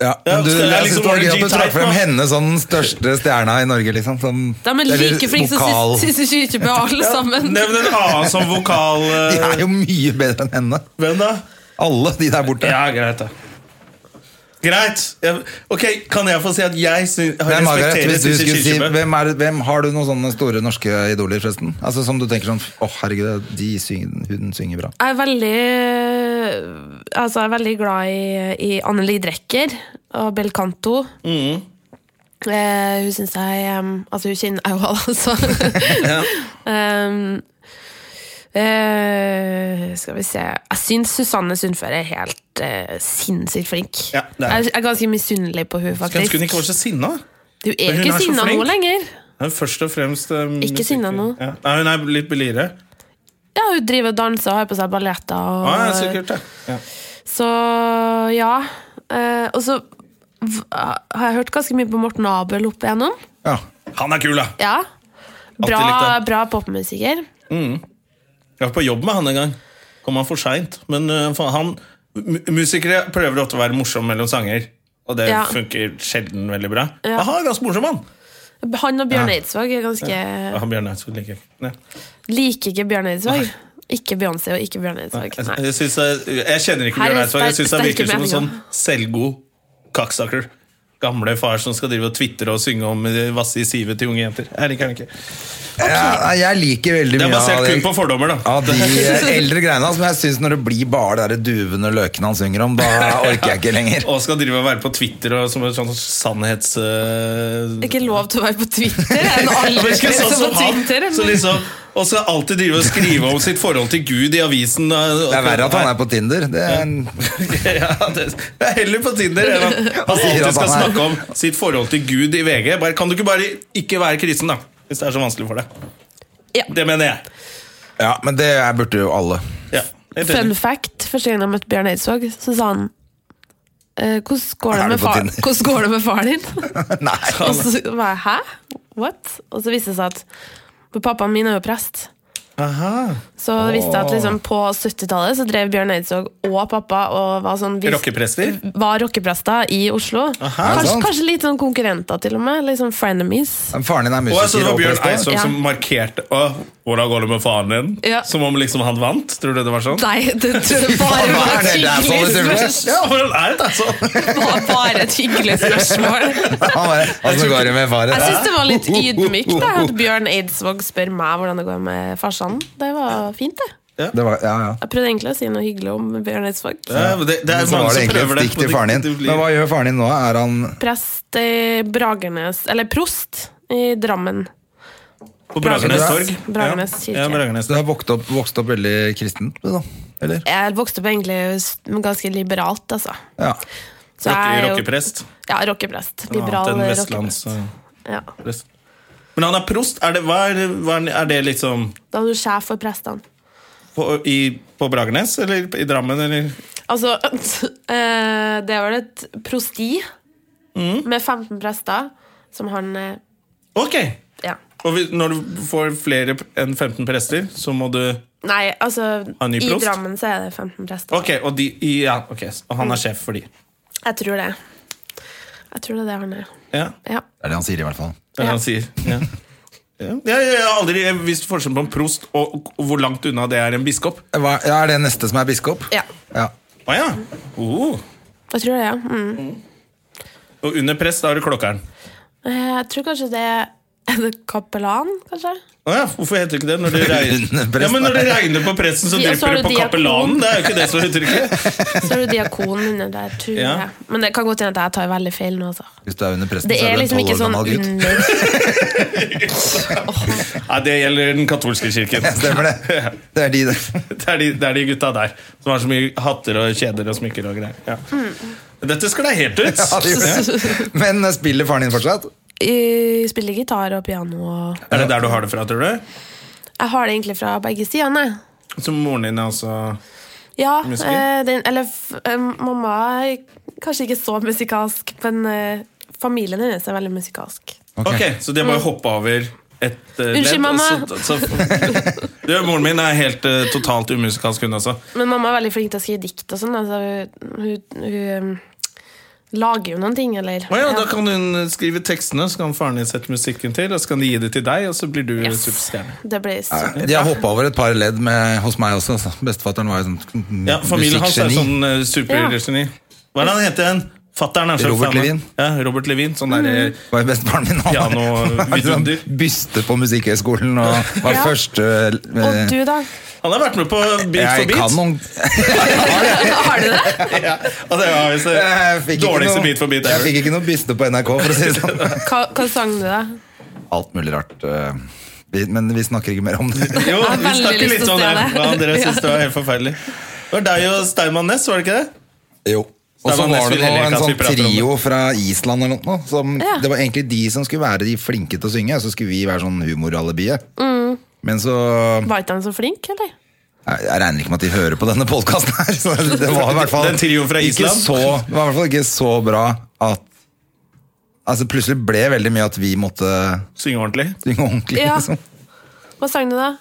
B: Ja, men du,
A: så det er
B: jeg
A: liksom
B: synes det var gøy at du
A: Warren G.
B: trakk frem
A: Type, da.
B: henne som den største stjerna i Norge, liksom. Som,
C: De er like flinke som Sissy Kyrkjebø,
A: [LAUGHS]
C: alle sammen.
A: Nevn en annen som
B: [LAUGHS]
A: vokal...
B: De
A: eh,
B: er jo mye bedre enn henne.
A: Hvem da?
B: Alle de der borte.
A: Ja, greit, da. Greit! Jeg, ok, Kan jeg få si at jeg syn- har
B: Nei, Margaret,
A: respekterer
B: hvis du
A: Sissel
B: skulle si,
A: Kyrkjebø?
B: hvem, er, hvem Har du noen sånne store norske idoler, forresten? Altså Som du tenker sånn Å, herregud, de synger, hun synger bra.
C: Jeg er veldig Altså, jeg er veldig glad i, i Anneli Drecker og Bel Canto.
A: Mm.
C: Eh, hun syns jeg em, Altså, hun kjenner jeg jo alle,
A: [LAUGHS]
C: altså. Em, eh, skal vi se Jeg syns Susanne Sundfør er helt eh, sinnssykt flink.
A: Ja, det er hun.
C: jeg er ganske misunnelig på hun
A: Skulle ønske
C: faktisk.
A: hun ikke var så sinna.
C: Du er
A: Men hun er
C: ikke
A: så
C: sinna
A: flink.
C: nå lenger.
A: Hun er Først og fremst um,
C: Ikke sinna nå.
A: Ja. Nei, hun er litt blidere.
C: Ja, hun driver og danser og har på seg balletter. Og,
A: Ah, ja, sikkert, ja. Ja.
C: Så ja. Eh, og så v- eh, har jeg hørt ganske mye på Morten Abel opp igjennom.
B: Ja.
A: Han er kul, da!
C: Ja.
A: likt
C: Bra,
A: han.
C: bra popmusiker.
A: Jeg var på jobb med han en gang. Kom han for seint. Men øh, faen, han mu- Musikere prøver ofte å være morsom mellom sanger, og det
C: Ja.
A: funker sjelden veldig bra.
C: Ja.
A: Men han er ganske morsom, han!
C: Han og Bjørn Eidsvåg er ganske
A: Ja, han Bjørn Eidsvåg liker jeg ikke. Nei.
C: Liker ikke Bjørn Eidsvåg. Ikke Beyoncé og ikke Bjørn Eidsvåg.
A: Jeg,
C: Nei.
A: jeg, synes jeg, jeg kjenner ikke
C: Her er
A: Bjørn Eidsvåg. Jeg
C: sterk-
A: syns han virker som
C: sterke
A: en sånn selvgod cocksucker. Gamle far som skal drive og tvitre og synge om eh, vasse i sivet til unge jenter. Jeg liker han ikke.
B: Ja, jeg liker veldig
A: Det er
B: mye
A: basert
B: av
A: kun
B: det.
A: på fordommer, da.
B: Av de eldre greiene som jeg syns når det blir bare de der duvende løkene han synger om, da orker jeg ikke lenger.
A: Og skal drive og være på Twitter og som en sånn sannhets... eh,
C: Det er ikke lov til å være på Twitter. Jeg er en
A: Ja, men ikke
C: alder
A: sånn
C: som
A: som
C: på
A: han,
C: Twitter.
A: så
C: men-
A: liksom, og skal alltid drive og skrive om sitt forhold til Gud i avisen. eh,
B: Det er verre at han er på Tinder. Det er en,
A: [LAUGHS] ja, det, Jeg er heller på Tinder enn at han
B: sier
A: alltid
B: at
A: skal
B: han er-
A: snakke om sitt forhold til Gud i VG. Bare, kan du ikke bare ikke være kristen, da? Hvis det er så vanskelig for deg.
C: Ja.
A: Det mener jeg.
B: ja, men det er- burde jo alle.
A: Ja, helt enig.
C: Fun fact, første gang jeg møtte Bjørn Eidsvåg, så sa han eh, hvordan, går
B: Er
C: det
B: du
C: med
B: på
C: far,
B: Tinder?
C: hvordan går det med faren din?
B: Nei.
C: Og så var jeg, hæ? What? Og så viste det seg at for Pappaen min er jo prest. Så det viste jeg at liksom på 70-tallet så drev Bjørn Eidsvåg og pappa og var sånn vi-
A: Rockeprester?
C: var rockeprester i Oslo.
B: er det
C: kanskje,
B: sant?
C: kanskje litt sånn konkurrenter, til og med. Litt sånn frenemies.
B: Men Faren din er
A: Og
B: musiker.
A: altså, det var
B: og
A: Bjørn
B: prest også.
A: Eidsvåg
C: Ja.
A: som markerte Å, 'Hvordan går det med faren din?'
C: Ja.
A: Som om liksom han vant. Tror du det var sånn?
C: Nei, [LAUGHS] det tror jeg bare
B: Hva
C: var
B: er
C: et
B: det der for noe
C: hyggelig
B: tull?
C: spørsmål.
A: Ja, for han er
B: [LAUGHS]
A: det, altså!
C: Det var bare et hyggelig spørsmål.
B: Han bare, altså, går det med faren?
C: Jeg syns det var litt ydmykt da, at Bjørn Eidsvåg spør meg hvordan det går med farsan. Det var fint, det.
B: Det var, ja, ja.
C: Jeg prøvde egentlig å si noe hyggelig om Bjørn Eidsvåg.
A: Ja, men det, det er
B: Så
A: mange
B: var det
A: som
B: egentlig
A: prøver
B: et
A: det.
B: stikk
A: men
B: til
A: det-
B: faren din.
A: det blir-
B: Men hva gjør faren din nå? Er han
C: Prest i Bragernes Eller prost i Drammen.
A: På Bragernes torg.
C: Bragernes
A: ja.
C: kirke.
A: ja, Bragernes.
B: Du har vokst opp, vokst opp veldig kristent, du da? Eller?
C: Jeg vokste opp egentlig s- ganske liberalt, altså.
B: Ja.
C: Så jeg er jo-
A: Rockeprest.
C: Ja, rockeprest.
A: Annet
C: Liberal
A: enn
C: rockeprest.
A: vestlandsprest.
C: Ja.
A: Men han er prost. Er det, hva er, det- hva er, er det liksom
C: Da er du sjef for prestene.
A: på, i, på Bragernes eller i Drammen eller
C: Altså, [LAUGHS] eh, det var et prosti
A: Mm.
C: med 15 prester, som han eh,
A: Ok!
C: Ja.
A: Og hvis- når du får flere enn 15 prester, så må du
C: Nei, altså,
A: Han ny
C: i
A: prost?
C: Drammen så er det 15 prester.
A: Ok, og, de, i- ja, ok, og han er sjef for de.
C: Jeg tror det. Jeg tror det er det han er.
A: Ja,
C: Ja.
B: Det er det han sier, i hvert fall.
A: det er det
C: Ja.
A: han sier. Ja. Ja, jeg, jeg har aldri visst forskjellen på en prost og, og hvor langt unna det er en biskop.
B: Hva, ja, er det neste som er biskop?
C: ja.
B: Ja.
A: Å ja. Oh.
C: Jeg tror det, ja. Mm.
A: Og under prest, da er det klokkeren.
C: Eh, Jeg tror kanskje det er det kapellan, kanskje?
A: Å ja, hvorfor heter det ikke det
B: [LAUGHS]
A: når det regner?
B: Under prest,
A: Ja, men når det regner på presten, så
C: Ja, så
A: drypper
C: har
A: det
C: du
A: på
C: diakon.
A: kapellanen. Det er jo ikke det som heter det.
C: [LAUGHS] Så er det diakon under der, tror
A: Ja.
C: jeg. Men det kan godt hende at jeg tar veldig feil nå, altså.
B: Hvis du er under presten,
C: Det
B: så
C: er
B: er du en
C: liksom
B: tolv
C: ikke
B: år
C: sånn
B: gammel gutt.
C: under
A: Nei, det gjelder den katolske kirken.
B: Ja, Stemmer det. Det er de, [LAUGHS] det.
A: Det er, de, det er de gutta der som har så mye hatter og kjeder og smykker og greier. Ja. Dette skal deg helt ut!
B: Ja, de gjorde det. Men eh, spiller faren din fortsatt?
C: Jeg spiller gitar og piano og
A: Er det der du har det fra, tror du?
C: Jeg har det egentlig fra begge sidene. jeg.
A: Som moren din er altså- også
C: Ja,
A: Musiker?
C: eh, den, eller f- eh, mamma er kanskje ikke så musikalsk, men eh, familien hennes er veldig musikalsk.
B: Ok.
A: Ok, så de har bare hoppa over et uh,
C: Mm. Unnskyld, mamma.
A: Så, så, du, moren min er helt eh, totalt umusikalsk, hun også.
C: Men mamma er veldig flink til å skrive dikt og sånn. Altså, hun, hun, hun eh, lager jo noen ting, eller
A: Å ja, Da
C: Ja.
A: kan hun skrive tekstene, så kan faren din sette musikken til, og så kan de gi det til deg, og så blir du
C: Yes.
A: superstjerne.
C: Det blir super.
B: De har hoppa over et par ledd med, hos meg også. altså. Bestefatteren var jo sånn mm,
A: Ja, Familien hans er
B: musikkgeni.
A: sånn eh, supergeni. Hva er det han heter igjen? Fatteren er så
B: Robert
A: fan av-
B: Levin.
A: Ja, Robert Levin. Sånn der, eh,
B: var jo bestefaren min. Han var-
A: Piano-
B: [LAUGHS] han var sånn
A: vidunder.
B: byste på Musikkhøgskolen og var
C: Ja.
B: første eh,
C: Og du, da?
A: han har vært med på Beat for
B: Jeg
A: beat.
B: kan noen
C: Har du det?
A: Ja, og det var visst
B: Jeg
A: det
B: fikk ikke
A: dårligste
B: noe-
A: Beat for beat
B: Jeg
A: ever.
B: fikk ikke noe byste på NRK, for å si det
A: [LAUGHS]
B: sånn.
C: Hva, hva sang du, da?
B: Alt mulig rart. eh, vi- Men vi snakker ikke mer om
A: [LAUGHS]
B: det.
A: Jo, vi
C: har veldig
A: snakker
C: lyst
A: litt
C: til å
A: om det.
C: se det.
A: Ja, dere syns det var helt forferdelig. Det var deg og Steinmann Næss, var det ikke det?
B: Jo. Og så
A: Stefan Næss
B: var det
A: vil heller
B: noe, en
A: ikke at vi
B: sånn
A: prater om det.
B: trio fra Island eller noe. Som,
C: Ja.
B: Det var egentlig de som skulle være de flinke til å synge, så skulle vi være sånn humoralibiet.
C: Mm.
B: Men så
C: Var ikke han så flink, eller?
B: Jeg jeg regner ikke med at de hører på denne podkasten her. Så det var i hvert fall
A: Den trioen fra
B: ikke
A: Island.
B: så, det var i hvert fall ikke så bra at Altså Plutselig ble veldig mye at vi måtte
A: Synge ordentlig.
B: synge ordentlig.
C: Ja.
B: Liksom.
C: Hva sang du, da?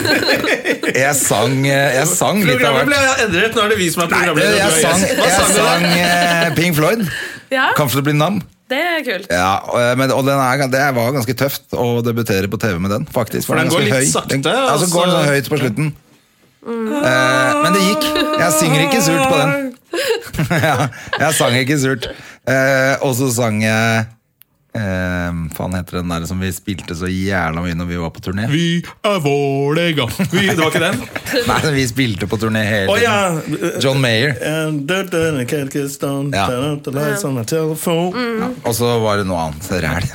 B: Jeg sang, eh, jeg sang litt av hvert.
A: Programmet ble endret, nå er det vi som er programleder.
B: Jeg
A: og du er
B: sang,
A: gjest. Hva
B: jeg
A: sang du da?
B: sang eh, Pink Floyd.
C: Ja,
B: Comfortably Numb.
C: det er kult.
B: Ja, og, eh, men, og den er, gan- det var ganske tøft å debutere på TV med den, faktisk.
A: For den
B: er
A: går
B: ganske
A: litt
B: høy.
A: sakte,
B: Den, ja, så
A: altså.
B: går den så høyt på slutten. Eh, men det gikk. Jeg synger ikke surt på den. [LAUGHS] ja, jeg sang ikke surt. Eh, og så sang jeg eh, Faen heter den der som vi spilte så jævla mye når vi var på turné?
A: Vi er Vålerenga. Vi- Det var ikke den?
B: [LAUGHS] Nei, vi spilte på turné hele
A: Å ja!
B: tiden. John Mayer.
A: And the day I can't get stoned,
B: Ja.
A: turn up the lights on my telephone.
B: Og så var det noe annet ræl.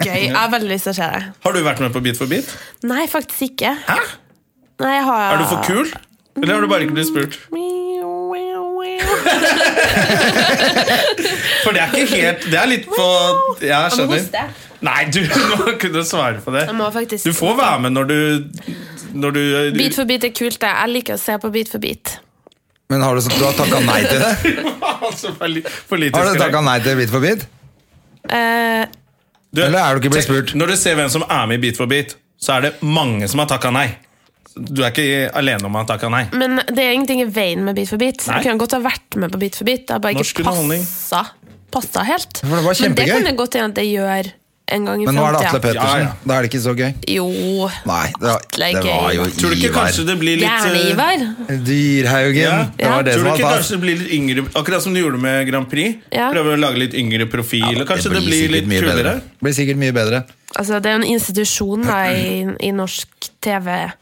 C: Gøy. Jeg har veldig lyst til å se det.
A: Har du vært med på Beat for beat?
C: Nei, faktisk ikke. Hæ? Nei, jeg har...
A: Er du for kul? Eller har du bare ikke blitt spurt? For det er ikke helt Det er litt på Ja, Jeg
C: Jeg må
A: skjønner.
C: hoste.
A: Nei, du [LAUGHS] må kunne svare på det.
C: Jeg må faktisk-
A: Du får være med når du Når du
C: Bit for bit er kult. det. Jeg liker å se på bit for bit.
B: Men har du, så- du har takka nei til
A: [LAUGHS]
B: det?
A: [LAUGHS] Altså, for li- politisk
B: Har du
A: korrekt.
B: takka nei til Bit for bit?
C: Eh,
A: Du-
B: Eller er du ikke blitt
A: tenk-
B: spurt?
A: Når du ser hvem som er med i Beat for beat, så er det mange som har takka nei. Du er ikke alene om å ha takka nei.
C: men det er ingenting i veien med bit for bit.
A: Nei.
C: Jeg kunne godt ha vært med på bit for bit. Det har bare
A: Norsk
C: ikke
A: underholdning.
C: passa, passa helt.
B: For det var
C: men det
B: kjempegøy.
C: kan det godt hende at det gjør en gang i
B: Men nå er det Atle
C: fremtiden.
B: Pettersen.
A: Ja, ja.
B: Da er det ikke så gøy.
C: Jo.
B: Nei, det,
C: Atle er
B: det var
C: gøy.
B: jo
A: Tror du ikke kanskje
B: Ivar.
A: det blir litt
C: Gjerne,
A: eh,
C: Ivar.
B: Dyrhaugen.
A: Ja.
B: Det var det
A: Tror
B: som
A: du
B: var
A: ikke
B: fast.
A: kanskje det blir litt yngre Akkurat som du gjorde med Grand Prix.
C: Ja.
A: Prøver å lage litt yngre profil. og kanskje det blir,
B: sikkert
A: litt
B: mye bedre.
A: kulere.
B: Det blir sikkert mye bedre.
C: Altså, det er jo en institusjon da, i, i norsk TV.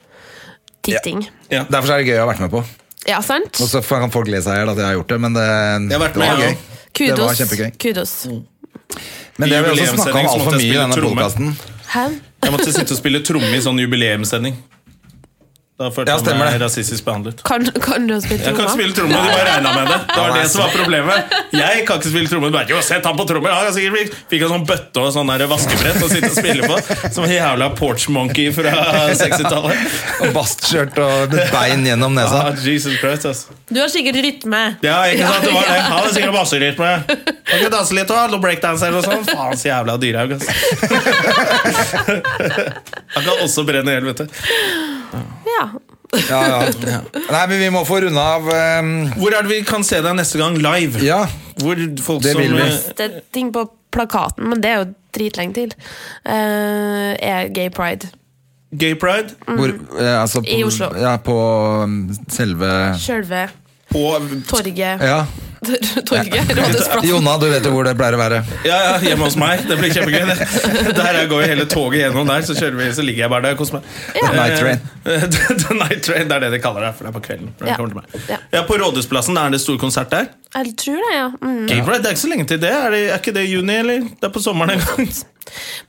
C: titting.
B: Derfor så er det gøy å ha vært med på.
C: Ja, sant?
B: Og så kan folk le seg i hjel at jeg har gjort det, men det,
A: Jeg har vært
B: det
A: med,
B: var
A: ja.
B: gøy. Det var
C: Kudos.
B: kjempegøy.
C: Kudos.
B: Men det har vi
A: I
B: også snakka om
A: jubileumssending så
B: altfor mye i
A: måtte jeg spille
B: denne
A: tromme.
B: podkasten.
C: Hæ?
A: Jeg måtte sitte og spille tromme i sånn jubileumssending. Da følte
B: Ja,
A: jeg
B: stemmer
A: meg
B: det.
A: rasistisk behandlet.
C: Kan, kan du ha spilt
A: Jeg kan ikke
C: tromma?
A: spille tromme, de bare regna med det. Det var det som var problemet. Jeg kan ikke spille tromme. de Bare, jo, sett han på trommer! Ja, jeg sikkert fikk- fikk en sånn bøtte og sånn der vaskebrett å sitte og spille på. Som en jævla porch monkey fra 60-tallet.
B: Og bastskjørt og med bein gjennom nesa.
A: Ah, Jesus Christ, altså.
C: Du har sikkert rytme.
A: Ja, ikke sant? Det var det. Han hadde sikkert basserytme. Kan ikke danse litt og noe breakdance eller noe sånt. Faen så jævla dyrehaug, altså. [LAUGHS] Han kan også brenne i hjel, vet du.
C: Ja.
B: Ja, ja. Nei, men vi må få runde av ehm,
A: Hvor er det vi kan se deg neste gang live?
B: Ja,
A: Hvor folk
B: Det
A: som
B: vil vi.
A: eh,
C: Det er ting på plakaten, men det er jo dritlenge til. Eh, er gay pride.
A: Gay pride
B: hvor, eh, altså, på,
C: Mm. I Oslo.
B: Ja, på um, selve
C: Sjølve
A: på
C: torget.
B: Ja.
C: [LAUGHS] torget, Rådhusplassen.
B: Jonna, du vet jo hvor det pleier å være.
A: Ja, ja, hjemme hos meg. Det [LAUGHS] blir kjempegøy. Det. Der jeg går jo hele toget gjennom der, så, kjører vi, så ligger jeg bare der og koser meg.
B: The Night Train.
A: Eh, [LAUGHS] The Night Train, Det er det de kaller det, for det er på kvelden. når de
C: Ja.
A: kommer til meg.
C: Ja.
A: Ja, På Rådhusplassen er det stor konsert der.
C: Jeg tror det, ja. Mm.
A: Gay Pride, Det er ikke så lenge til det. Er, det. er ikke det i juni, eller? Det er på sommeren en
B: [LAUGHS]
A: gang.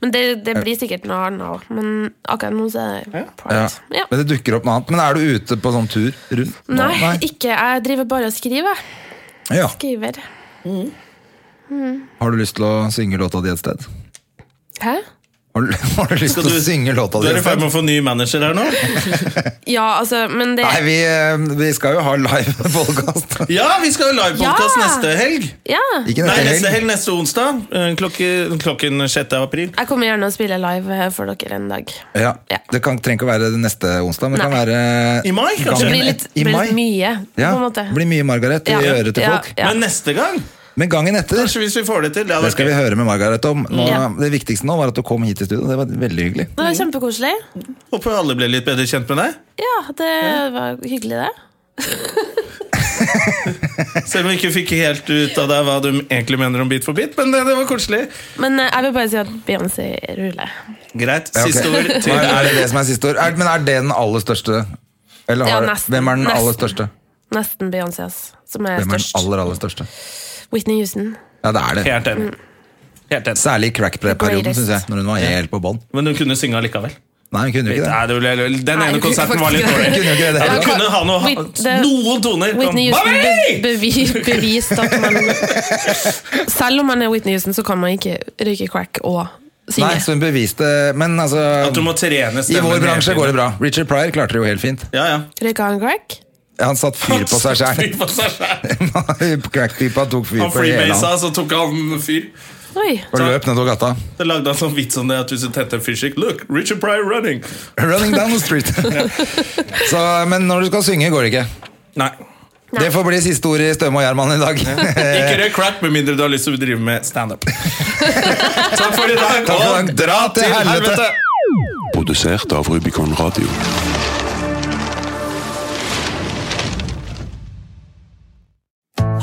C: Men det, det blir sikkert noe annet òg. Men akkurat nå så er det
B: Ja.
C: pride. Ja.
B: Men det dukker opp noe annet. Men er du ute på sånn tur rundt? nå?
C: Nei, ikke. Jeg driver bare og skriver.
B: Ja.
C: Skriver.
B: Har du lyst til å synge låta di et sted?
C: Hæ?
B: Har du, [LAUGHS] har du lyst
A: Skal
B: til å
A: du-
B: synge låta
A: Du
B: di
A: er
B: et
A: i ferd
B: sted?
A: med å få ny manager
B: [LAUGHS]
A: her nå.
C: Ja, altså, men det
B: Nei, vi, eh, vi skal jo ha live [LAUGHS] podkast.
A: Ja, vi skal jo livepodkast
C: Ja.
A: neste helg.
C: Ja!
B: Ikke
A: Nei,
B: neste helg.
A: neste helg, neste onsdag. eh, Klokke, klokken 6. april.
C: Jeg kommer gjerne og spiller live eh, for dere en dag.
B: Ja.
C: Ja.
B: Det kan, trenger ikke å være neste onsdag, men det kan
C: Nei.
B: være
A: I mai, kanskje?
C: Det
B: gangen
C: blir litt,
B: et- i
C: blir
B: mai.
C: litt mye,
B: Ja,
C: på en måte.
B: det blir mye Margaret i
C: Ja.
B: øret til
C: Ja.
B: folk.
A: Men neste gang,
B: Men gangen etter
A: kanskje hvis vi får det til. Ja,
B: det skal vi høre med Margaret om. Nå,
C: Ja.
B: Det viktigste nå var at du kom hit i studio. Det var veldig hyggelig.
C: Det var kjempekoselig.
A: Håper alle ble litt bedre kjent med deg.
C: Ja, det var hyggelig, det.
A: Selv om vi ikke fikk helt ut av deg hva du egentlig mener om Bit for bit, men det, det var koselig.
C: Men eh, jeg vil bare si at Beyoncé ruller.
A: Greit.
B: Ja, ok.
A: Siste ord
B: [LAUGHS]
A: til
B: Men Er det det som er siste ord? Er, men er det den aller største? Eller
C: Ja,
B: har,
C: nesten.
B: hvem er den aller
C: Nesten.
B: største?
C: Nesten Beyoncé, ass. Som er
B: Hvem er
C: størst.
B: den aller, aller største?
C: Whitney Houston.
B: Ja, det er det.
A: Helt enig.
C: Mm.
A: Helt enig.
B: Særlig i crack-perioden,
C: Greatest.
B: syns jeg. Når hun var helt på bånn.
A: Men hun kunne synge allikevel.
B: Nei, hun kunne jo ikke det.
A: Nei, det ble, den ene
C: Nei, hun kunne
A: konserten var
C: faktisk
A: litt
C: ikke
B: Hun kunne
A: dårlig.
C: det.
B: jo ikke det, det
A: Ja,
B: heller.
A: hun kunne ha noe,
C: Whit- det-
A: noen toner.
C: Whitney
A: Kom,
C: Houston
A: Bobby!
C: be bevi beviste at man Selv om man er Whitney Houston, så kan man ikke røyke crack og synge.
B: Nei, så hun beviste Men altså
A: At du må trene
B: I
A: stemmen.
B: vår
A: hele
B: bransje
A: tiden.
B: går det bra. Richard Pryor klarte det jo helt fint.
A: Ja, ja.
C: Røyka han crack?
B: Han satt fyr på seg
A: [LAUGHS]
B: [LAUGHS]
A: Fyr
B: sjæl.
A: på seg selv.
B: Crackpipa tok fyr
A: Han
B: på hele
A: freebasa,
B: han.
A: så tok han fyr.
C: Oi.
B: Og løp nedover gata.
A: Så lagde han sånn vits om det at hvis du tente en fyrstikk Look, Richard Pryor running.
B: Running down the
A: [LAUGHS]
B: street. [LAUGHS] Så, men når du skal synge, går det ikke.
A: Nei.
B: Det får bli siste ord i Støme og Gjerman i dag.
C: [LAUGHS]
A: Ikke
B: Eh.
A: røyk crack med mindre du har lyst til å drive med
B: [LAUGHS]
A: standup. Takk for i dag,
B: Takk for i dag.
A: og dra til helvete!
E: Produsert av Rubicon Radio.